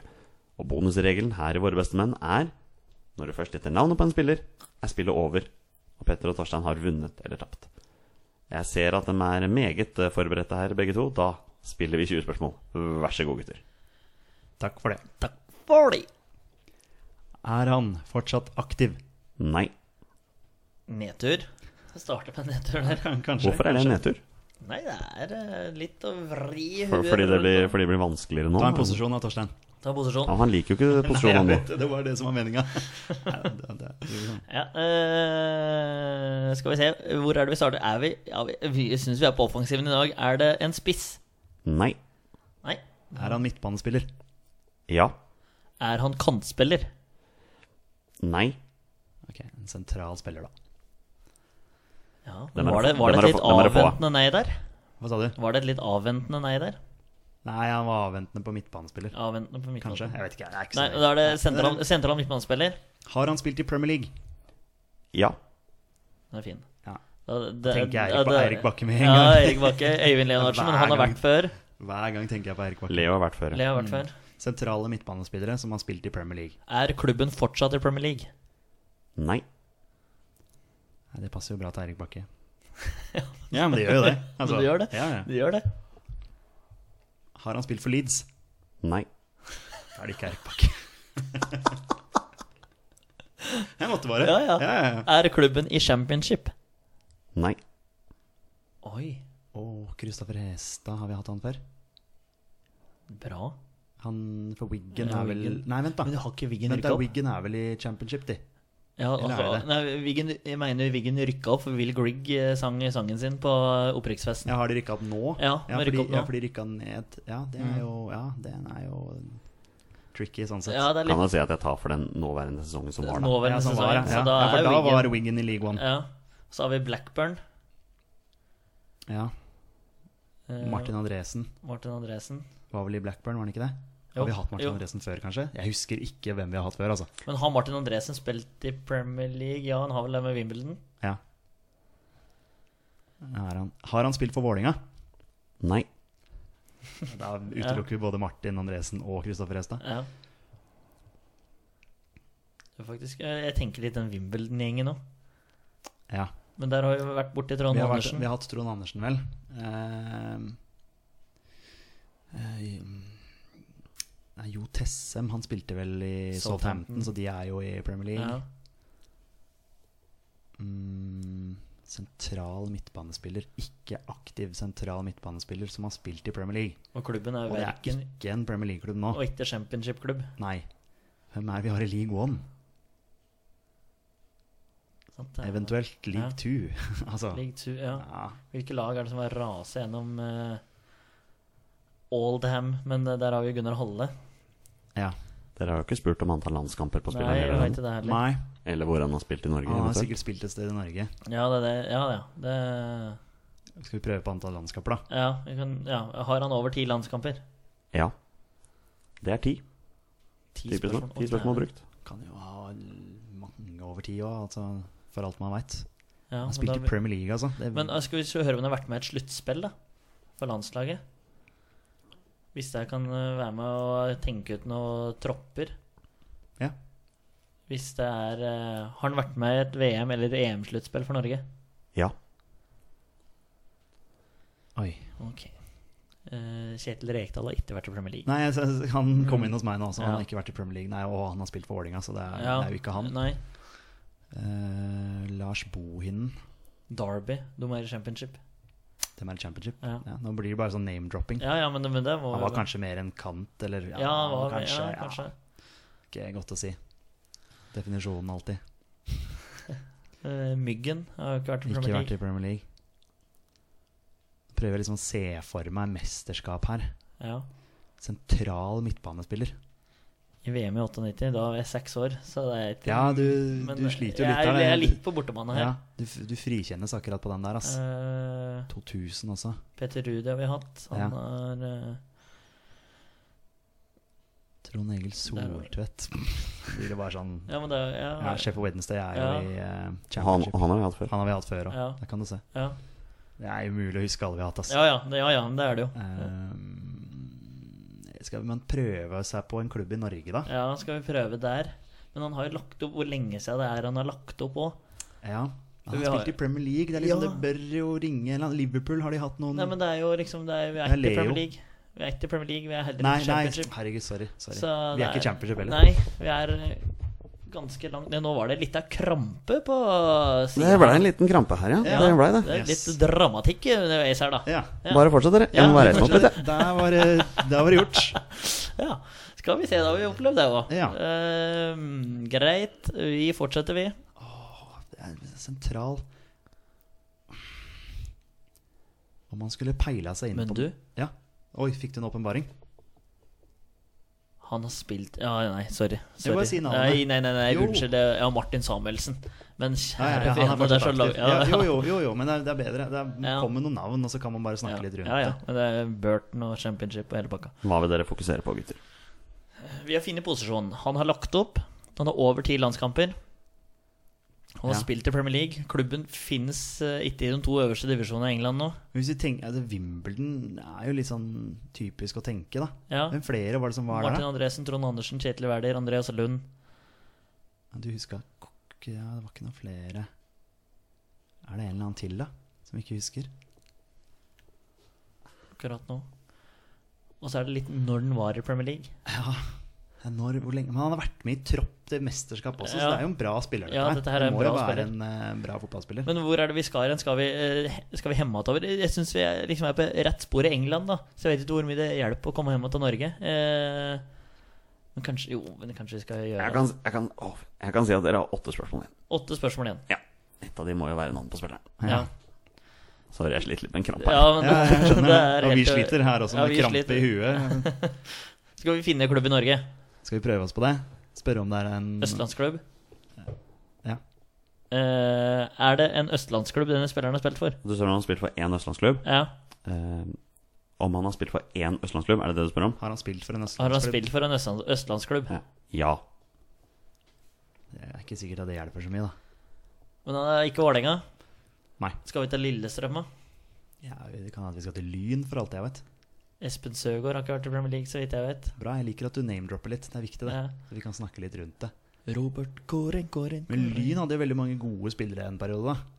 B: Og bonusregelen her i Våre bestemenn er når du først gjetter navnet på en spiller, er spillet over, og Petter og Torstein har vunnet eller tapt. Jeg ser at de er meget eh, forberedte her, begge to. Da spiller vi 20 spørsmål. Vær så god, gutter.
C: Takk for det.
D: Takk for det.
C: Er han fortsatt aktiv?
B: Nei.
D: Nedtur. Jeg starter med nedtur der.
C: Kanskje.
B: Hvorfor er det en nedtur?
D: Nei, det er eh, litt å vri
B: For- Fordi det blir, fordi det blir vanskeligere nå?
C: Ta en posisjon da, Torstein.
D: Ta posisjon.
B: Ja, han liker jo ikke posisjonen nå.
C: det var det som var *laughs* meninga. Nei,
D: Ja, eh, skal vi se, hvor er det vi starter? Er vi, ja, vi, vi syns vi er på offensiven i dag. Er det en spiss?
B: Nei.
D: Nei.
C: Er han midtbanespiller?
B: Ja.
D: Er han kantspiller?
B: Nei.
C: Ok, En sentral spiller, da.
D: Ja.
B: Den er
D: Var det,
B: det-
D: var
B: den
D: det
B: er
D: et
B: det
D: litt
B: få- den er det få av.
D: avventende nei der?
C: Hva sa du?
D: Var det et litt avventende nei der?
C: Nei, han var avventende på midtbanespiller.
D: Avventende på midtbanen.
C: Kanskje? Jeg vet ikke. Jeg er ikke
D: Nei,
C: så
D: da er det sentral, sentral midtbanespiller.
C: Har han spilt i Premier League?
B: Ja.
D: Den er fin.
C: Ja.
D: Da, det,
C: tenker jeg
D: ja,
C: Erik, ba
D: det-
C: Erik Bakke med en
D: Ja,
C: gang.
D: Erik Bakke. Øyvind Leonardsen, men han har
C: Hver
D: vært før.
C: Hver gang tenker jeg på Erik Bakke.
B: Leo har vært før.
D: Leo har vært før.
C: Sentrale midtbanespillere som har spilt i Premier League.
D: Er klubben fortsatt i Premier League?
B: Nei.
C: Nei, det passer jo bra til Erik
D: *laughs*
C: Bakke. ja, men det gjør jo det. Altså,
D: Men det gjør det.
C: Ja, ja.
D: De gjør det.
C: Har han spilt for Leeds?
B: Nei.
D: *laughs*
C: Da er det ikke Erik Bakke. Jeg måtte bare.
D: Ja, ja.
C: Ja, ja.
D: Er klubben i championship?
B: Nei.
D: Oi,
C: Å, Kristoffer Hestad, har vi hatt han før?
D: bra.
C: Han fra Wiggen
D: Ja,
C: er vel
D: Wiggen.
C: Nei, vent, da.
D: Men du har ikke Wiggen
C: Vent da,
D: rykket opp?
C: Wiggen er vel i championship, de.
D: Ja,
C: Eller
D: altså,
C: er det?
D: nei, Wiggen, jeg mener Wiggen rykka opp, for Will Grigg eh, sang sangen sin på eh, opprykksfesten.
C: Ja, har de rykka opp nå?
D: Ja, de har
C: fordi,
D: rykket opp nå. Mm.
C: ja, for de rykka ned Ja, det er jo Ja, den er jo tricky, sånn sett.
D: Ja, det er
B: Kan
D: litt
B: jeg si at jeg tar for den nåværende sesongen som var, da?
C: Ja,
D: nåværende
C: sånn
D: sesong.
C: var det.
D: Så
C: Ja.
D: da
C: ja, for
D: er
C: da var
D: Wiggen
C: Wiggen i League One.
D: ja. Så har vi Blackburn.
C: Ja.
D: eh,
C: Martin Andresen
D: Martin Andresen.
C: var vel i Blackburn, var han ikke det?
D: Jo,
C: Har vi hatt Martin
D: jo.
C: Andresen før, kanskje? Jeg husker ikke hvem vi har hatt før, altså.
D: Men har Martin Andresen spilt i Premier League? Ja, han har vel det med Wimbledon?
C: Ja. Er han. Har han spilt for Vålinga?
B: Nei.
C: Da utelukker vi både Martin Andresen og Kristoffer Hestad.
D: Ja. Det er Faktisk, eh, jeg tenker litt den Wimbledon-gjengen òg.
C: Ja.
D: Men der har vi vært borti Trond
C: Vi har, vært,
D: Andersen.
C: vi har hatt Trond Andersen, vel. Eh, eh, nei, jo Tessem, han spilte vel i Southampton,
D: Southampton.
C: så de er jo i Premier League.
D: ja.
C: Mm, sentral midtbanespiller, ikke aktiv sentral midtbanespiller, som har spilt i Premier League.
D: Og klubben er
C: Og det er
D: verken
C: ikke en Premier League-klubb nå.
D: Og ikke championship-klubb.
C: Nei. Hvem er det vi har i League One?
D: sant? Det er-
C: Eventuelt
D: Ja.
C: League Two. *laughs* altså,
D: League Two, ja.
C: ja.
D: Hvilke lag er det som har raset gjennom eh, Oldham? Men eh, der har vi jo Gunnar Holle.
C: ja.
B: Dere har jo ikke spurt om antall landskamper på
D: Nei, jeg vet
B: spilleren,
D: ikke det heller.
C: Nei,
B: eller hvor han har spilt i Norge.
C: han har
B: eventuelt.
C: sikkert spilt et sted i Norge.
D: Ja, det er det. Ja, ja. Det,
C: Skal vi prøve på antall landskamper, da?
D: ja, vi kan, ja. Har han over ti landskamper?
B: Ja. Det er ti.
D: Ti
B: Ti spørsmål,
D: Å,
B: ti spørsmål
D: dæven.
B: brukt.
C: Kan jo ha mange over ti òg, altså, for alt man veit.
D: Ja,
C: Han
D: men
C: spilte
D: da-
C: i Premier League, altså. Det,
D: Men eh, skal vi så høre om han har vært med i et sluttspill, da? For landslaget? Hvis jeg kan eh, være med og tenke ut noen tropper.
C: ja.
D: Hvis det er eh, Har han vært med i et VM- eller EM-sluttspill for Norge?
B: Ja.
C: Oi.
D: Ok. Eh, Kjetil Rekdal har ikke vært i Premier League.
C: Nei, jeg, jeg- han kom inn hos meg nå, så han
D: Mm. Ja.
C: har ikke vært i Premier League. Nei, og han har spilt for Vålerenga, så det er,
D: Ja,
C: det er jo ikke han.
D: Nei.
C: Eh, Lars Bohinen.
D: Derby. De er i championship.
C: Dem er i championship.
D: Ja.
C: Ja, nå blir det bare sånn name-dropping.
D: Ja, ja, men, men det må
C: Han var kanskje mer en kant, eller
D: Ja, han var,
C: kanskje,
D: ja, kanskje.
C: Ja, ikke godt å si. Definisjonen alltid.
D: Eh, Myggen har jo ikke vært i
C: Ikke
D: Premier
C: vært
D: League.
C: i Premier League. Prøver liksom å se for meg mesterskap her.
D: Ja.
C: Sentral midtbanespiller.
D: I VM i 98, da var jeg seks år, så det er ikke
C: Ja, du,
D: eh, Men
C: du sliter jo litt
D: jeg,
C: der.
D: Jeg er litt på bortebane her.
C: ja, du, f- du frikjennes akkurat på den der, ass.
D: Eh,
C: 2000 også.
D: Peter Rudi har vi hatt. Han
C: Ja.
D: har eh,
C: Trond Egil Soltvedt. *laughs* Blir det bare sånn
D: Ja, men det er ja,
C: Ja, Sheffield Wednesday er jo
D: Ja.
C: i eh,
B: Han,
C: championship.
B: han har vi hatt før.
C: Han har vi hatt før òg.
D: Ja.
C: Der kan du se.
D: ja.
C: Det er umulig å huske alle vi har hatt, ass.
D: Ja, ja, det, ja, ja, men det er det jo.
C: Ehm, skal man prøve seg på en klubb i Norge, da?
D: Ja, skal vi prøve der? Men han har jo lagt opp Hvor lenge siden det er han har lagt opp òg?
C: Ja. Han har
D: Vi har-
C: spilt i Premier League. Det, er liksom,
D: Ja.
C: det bør jo ringe en eller annen Liverpool, har de hatt noen
D: Nei, men det er jo liksom det er, Vi er
C: Det er
D: ikke i
C: Mm. Leo.
D: Premier League. Vi er ikke i Premier League, vi er heller
C: Nei,
D: ikke i
C: nei,
D: Championship.
C: herregud, sorry. sorry.
D: Så
C: Vi
D: det
C: er ikke i Championship heller.
D: Nei, vi er eh, ganske langt ned. Nå var det litt av krampe på siden.
B: Det ble en liten krampe her, ja. Det ble det.
D: Det er litt
C: Yes.
D: dramatikk underveis her, da.
C: Ja.
B: Bare fortsett, dere. Jeg må
D: Ja,
B: bare reise meg opp litt, jeg.
C: Der var, det- der var
B: *laughs*
C: det gjort.
D: Ja, skal vi se, da har vi opplevd det òg.
C: Ja.
D: greit, vi fortsetter, vi.
C: Det er sentral Om han skulle peila seg inn
D: Men
C: på
D: du?
C: Ja. Oi, fikk du en åpenbaring?
D: Han har spilt Ja, nei, sorry.
C: Jo,
D: sorry.
C: bare si navnet.
D: Nei, nei, nei, nei
C: Jo.
D: unnskyld. det- Ja, Martin Samuelsen. Men
C: Ja, ja,
D: kjære
C: ja, han er
D: vene, det er så
C: fortsatt
D: lag-
C: aktiv. Ja,
D: ja,
C: jo, jo, jo, jo, men det er, det er bedre. Det er,
D: Ja.
C: kommer noen navn, og så kan man bare
D: Ja,
C: snakke litt rundt
D: ja, ja. Men det er Burton og championship og hele pakka.
B: Hva vil dere fokusere på, gutter?
D: Vi har funnet posisjonen. Han har lagt opp. Han har over ti landskamper. Han har
C: Ja.
D: spilt i Premier League. Klubben finnes eh, ikke i de to øverste divisjonene i England nå.
C: det. Hvis vi tenker, altså, Wimbledon er jo litt sånn typisk å tenke, da.
D: Ja.
C: Hvem flere var det som var
D: Martin
C: der? da?
D: Andresen, Trond Andersen, Kjetil Wæler, Andreas Lund.
C: Ja, Du huska Kokk- ja, Det var ikke noen flere. Er det en eller annen til, da? Som vi ikke husker?
D: akkurat nå. Og så er det litt når den var i Premier League.
C: Når, hvor lenge, men han har vært med i tropp til mesterskap også, så
D: Ja.
C: det er jo en bra spiller.
D: Ja, dette her er
C: det
D: en
C: må jo
D: bra
C: være en
D: spiller.
C: eh, bra fotballspiller.
D: Men hvor er det vi skal hen? Skal vi, eh, skal vi hjem igjen? Jeg syns vi er, liksom er på rett spor i England, da. Så jeg vet ikke hvor mye det hjelper å komme hjem igjen til Norge. Eh, men kanskje Jo, men kanskje vi skal gjøre
B: Jeg kan, jeg, kan, å, jeg kan si at dere har åtte spørsmål igjen.
D: åtte spørsmål igjen.
B: Ja. Et av de må jo være navn på spilleren.
D: Ja,
B: Sorry, jeg sliter litt med en krampe.
D: ja
B: her.
D: men
C: Ja, jeg skjønner det.
D: er
C: Og vi
D: helt- eh,
C: sliter her også,
D: Ja,
C: med
D: vi
C: krampe
D: sliter.
C: i huet.
D: Skal vi finne en klubb i Norge?
C: Skal vi prøve oss på det? Spørre om det er en
D: Østlandsklubb?
C: Ja.
D: Eh, er det en østlandsklubb denne spilleren har spilt for?
B: Du spør om han har spilt for én østlandsklubb.
D: Ja.
B: Eh, om han har spilt for én østlandsklubb, er det det du spør om?
C: Har han spilt for en østlandsklubb?
D: Har han spilt for en østland- østlandsklubb?
B: Ja. ja.
C: Det er ikke sikkert at det hjelper så mye, da.
D: Men han er ikke Vålerenga?
C: Nei.
D: Skal vi til Lillestrøm, da?
C: Ja, det kan hende vi skal til Lyn, for alt jeg vet.
D: Espen Søgaard har ikke vært i Premier League, så vidt jeg vet.
C: Bra, jeg liker at du name-dropper litt. Det er viktig, det.
D: Ja.
C: Så vi kan snakke litt rundt det.
D: Robert Kåren, Kåren
C: Men Lyn hadde jo veldig mange gode spillere en periode, da.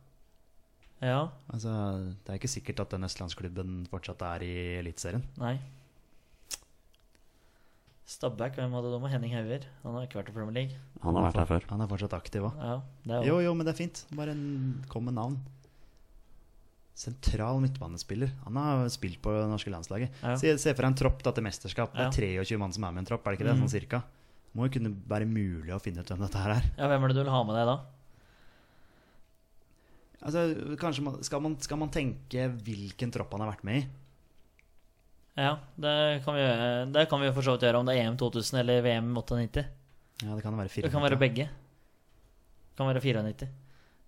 D: Ja,
C: Altså, det er ikke sikkert at den østlandsklubben fortsatt er i Eliteserien.
D: nei. Stabæk, hvem hadde de? Og Henning Hauger. Han har ikke vært i Premier League.
B: Han har vært her før.
C: Han er fortsatt aktiv òg.
D: Ja, det er
C: Jo,
D: jo.
C: jo, men det er fint. Bare en, kom med navn. Sentral midtbanespiller. Han har spilt på det norske landslaget.
D: Ja.
C: Se, se for deg en tropp da, til mesterskap. Det
D: Ja. Mm.
C: er 23 mann som er med i en tropp, er det ikke det? Sånn cirka. Må jo kunne være mulig å finne ut hvem dette her er.
D: Ja, hvem er det du vil ha med deg da?
C: Altså, kanskje man, skal, man, skal man tenke hvilken tropp han har vært med i?
D: Ja, det kan vi gjøre. Det kan vi jo for så vidt gjøre om det er EM 2000 eller VM 98.
C: Ja, det kan være fire.
D: Det kan være begge. Det kan være 94.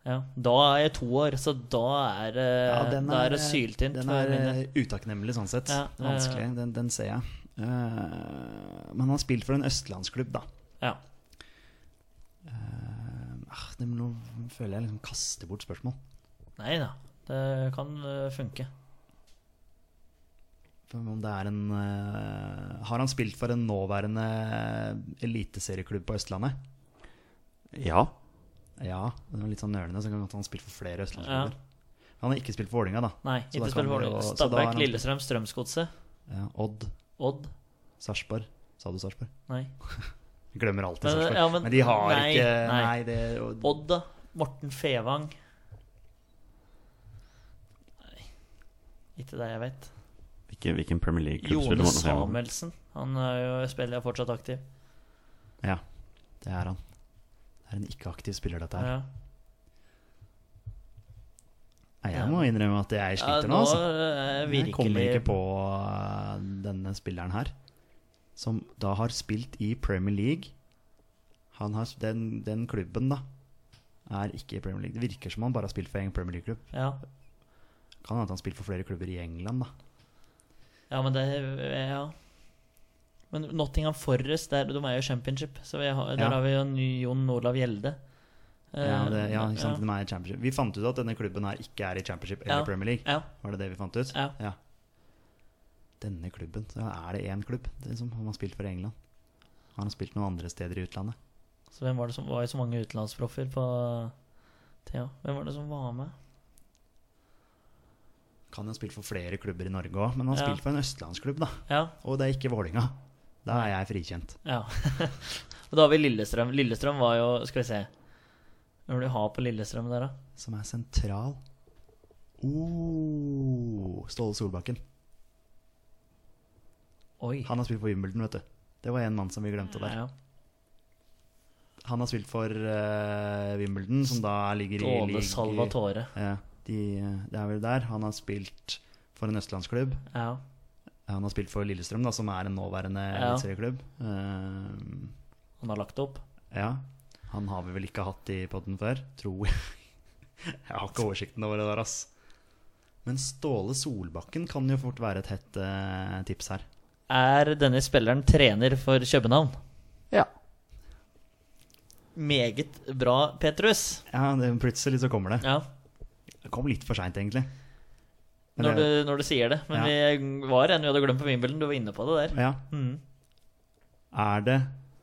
D: Ja, da er jeg to år, så da er, det-
C: Ja, den
D: da er det
C: eh,
D: syltynt.
C: Den
D: for
C: er
D: min del.
C: eh, utakknemlig sånn sett.
D: Ja,
C: Det er Vanskelig. Den, den ser jeg. Eh, men han har spilt for en østlandsklubb, da.
D: ja.
C: Ah, det, nå føler jeg liksom kaster bort spørsmål.
D: Nei da, det kan eh, funke.
C: Om det er en eh, Har han spilt for en nåværende eliteserieklubb på Østlandet?
B: Ja.
C: Ja. Det var litt sånn nølende, så kan det godt hende han har spilt for flere
D: Ja.
C: østlandsklubber. Han har ikke spilt for Vålinga, da.
D: Nei,
C: Så da
D: ikke
C: kan
D: spill for
C: vi jo-
D: Vålerenga.
C: så da er
D: Stabæk,
C: han-
D: Lillestrøm, Strømsgodset,
C: Ja, Odd,
D: Odd.
C: Sarpsborg. Sa du Sarpsborg?
D: Nei.
C: Jeg Glemmer alltid
D: Men-
C: Sarpsborg.
D: ja, men-
C: men, de har
D: nei,
C: ikke
D: nei.
C: Nei, det og,
D: Odd, da. Morten Fevang. Nei, ikke det jeg vet.
B: Hvilken, hvilken Premier League-klubb spiller
D: Jone
B: Morten Samuel?
D: Samuelsen. Han er jo spiller jeg fortsatt aktiv.
C: Ja, det er han. Det er en ikke-aktiv spiller, dette her.
D: Ja.
C: Nei, jeg må innrømme at jeg sliter nå, altså.
D: er jeg
C: Jeg kommer
D: virkelig-
C: ikke på eh, denne spilleren her, som da har spilt i Premier League. Han har, den, den klubben, da, er ikke i Premier League. Det virker som han bare har spilt for en Premier League-klubb.
D: Ja.
C: Kan hende han har spilt for flere klubber i England, da.
D: ja, men det Ja. Men Nottingham Forest, der, de er jo championship, så vi har, der
C: Ja.
D: har vi jo en ny Jon Olav Gjelde.
C: Ja,
D: Eh,
C: det, ja, ikke sant?
D: ja.
C: De er i Championship. Vi fant ut at denne klubben her ikke er i Championship eller
D: Ja.
C: Premier League.
D: Ja.
C: Var det det vi fant ut?
D: Ja.
C: Denne klubben, så er det én klubb det er som han har spilt for i England. Han har spilt noen andre steder i utlandet.
D: Så hvem var det som var jo så mange utenlandsproffer på Thea? Hvem var det som var med?
C: Kan jo ha spilt for flere klubber i Norge òg, men han har
D: Ja.
C: spilt for en østlandsklubb, da.
D: Ja.
C: Og det er ikke Vålinga. Da er jeg frikjent.
D: ja. *laughs* Og da har vi Lillestrøm. Lillestrøm var jo Skal vi se. Hvem vil du ha på Lillestrøm der, da?
C: Som er sentral. Oh, Ståle Solbakken.
D: Oi.
C: Han har spilt for Wimbledon, vet du. Det var en mann som vi glemte der.
D: Ja.
C: Han har spilt for eh, Wimbledon, som da ligger i
D: Dåle
C: league-
D: Salvatore.
C: Ja, de, det er vel der. Han har spilt for en østlandsklubb.
D: Ja.
C: Han har spilt for Lillestrøm, da, som er en nåværende
D: Ja.
C: eliteserieklubb. Ehm,
D: Han har lagt opp.
C: ja. Han har vi vel ikke hatt i podden før, tror jeg. Jeg har ikke oversikten over det der, ass. Men Ståle Solbakken kan jo fort være et hett eh, tips her.
D: Er denne spilleren trener for København?
B: Ja.
D: Meget bra, Petrus.
C: Ja, det, Plutselig så kommer det.
D: Ja,
C: Det kom litt for seint, egentlig. Men
D: når du,
C: det-
D: når du sier det. Men vi var en vi hadde glemt på Wimbledon. Du var inne på det der.
C: ja.
D: Mm.
C: Er det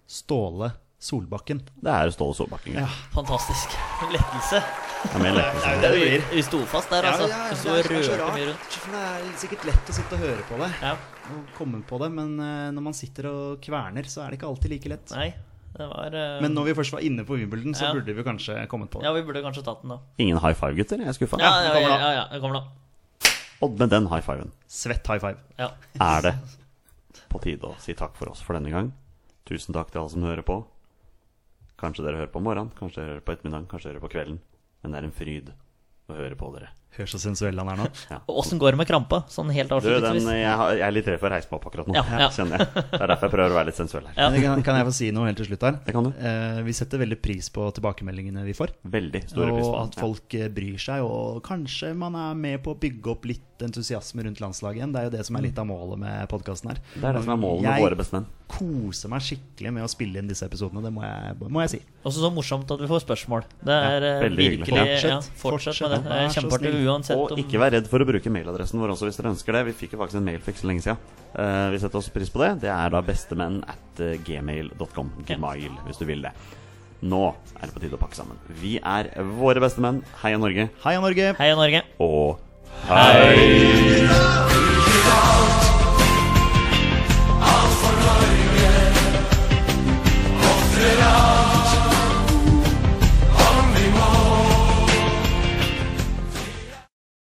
C: Ståle Solbakken?
B: Det er Ståle Solbakken.
C: Ja.
D: Fantastisk *laughs* lettelse.
B: Det er mer lettelse.
C: Det er jo det det blir.
D: Vi sto fast der, altså. Vi sto og rørte mye rundt.
C: for det er sikkert lett å sitte og høre på det.
D: Ja.
C: Og komme på det, Men eh, når man sitter og kverner, så er det ikke alltid like lett.
D: Nei, det var eh,
C: Men når vi først var inne på Wimbledon, så
D: Ja.
C: burde vi kanskje kommet på det.
D: Ja, vi burde kanskje tatt den, da.
B: Ingen high five, gutter. Jeg er skuffa.
D: Ja,
C: det
D: ja,
C: kommer
D: ja,
C: da.
D: ja, ja det kommer da.
B: Og med den high fiven
C: Svett high five.
D: Ja.
B: er det på tide å si takk for oss for denne gang. Tusen takk til alle som hører på. Kanskje dere hører på morgenen, kanskje dere hører på ettermiddagen, kanskje dere hører på kvelden. Men det er en fryd å høre på dere.
C: Hør så sensuell han er nå.
B: Ja.
D: Og Åssen går det med krampa? Sånn helt
B: Du, den,
D: avslutningsvis.
B: jeg, har- jeg er litt redd for å reise meg opp akkurat nå,
D: Ja,
B: *laughs*
D: ja.
B: kjenner jeg. Det er derfor jeg prøver å være litt sensuell her.
D: Ja.
C: Men Kan, kan jeg få si noe helt til slutt her?
B: Det kan du.
C: Eh, vi setter veldig pris på tilbakemeldingene vi får.
B: Veldig store
C: Og
B: pris på
C: at folk eh, bryr seg, og kanskje man er med på å bygge opp litt entusiasme rundt landslaget igjen. Det er jo det som er litt av målet med podkasten her.
B: Det er det som er målet med
C: Jeg
B: våre bestemenn.
C: koser meg skikkelig med å spille inn disse episodene, det må jeg, må jeg si.
D: Også så morsomt at vi får spørsmål. Det er eh,
B: veldig hyggelig.
D: virkelig
C: Fortsett,
D: ja, Fortsett
C: fortsett,
D: med det.
C: vær
D: Det er
C: så
D: kjempeartig
C: snill.
D: uansett.
B: Og
D: om-
B: ikke vær redd for å bruke mailadressen vår også hvis dere ønsker det. Vi fikk jo faktisk en mail for ikke så lenge siden. Eh, vi setter også pris på det. Det er da bestemenn at eh, gmail.com. Gmail, hvis du vil det. Nå er det på tide å pakke sammen. Vi er våre bestemenn. Heia Norge.
C: Heia Norge!
D: Heia Norge.
B: Og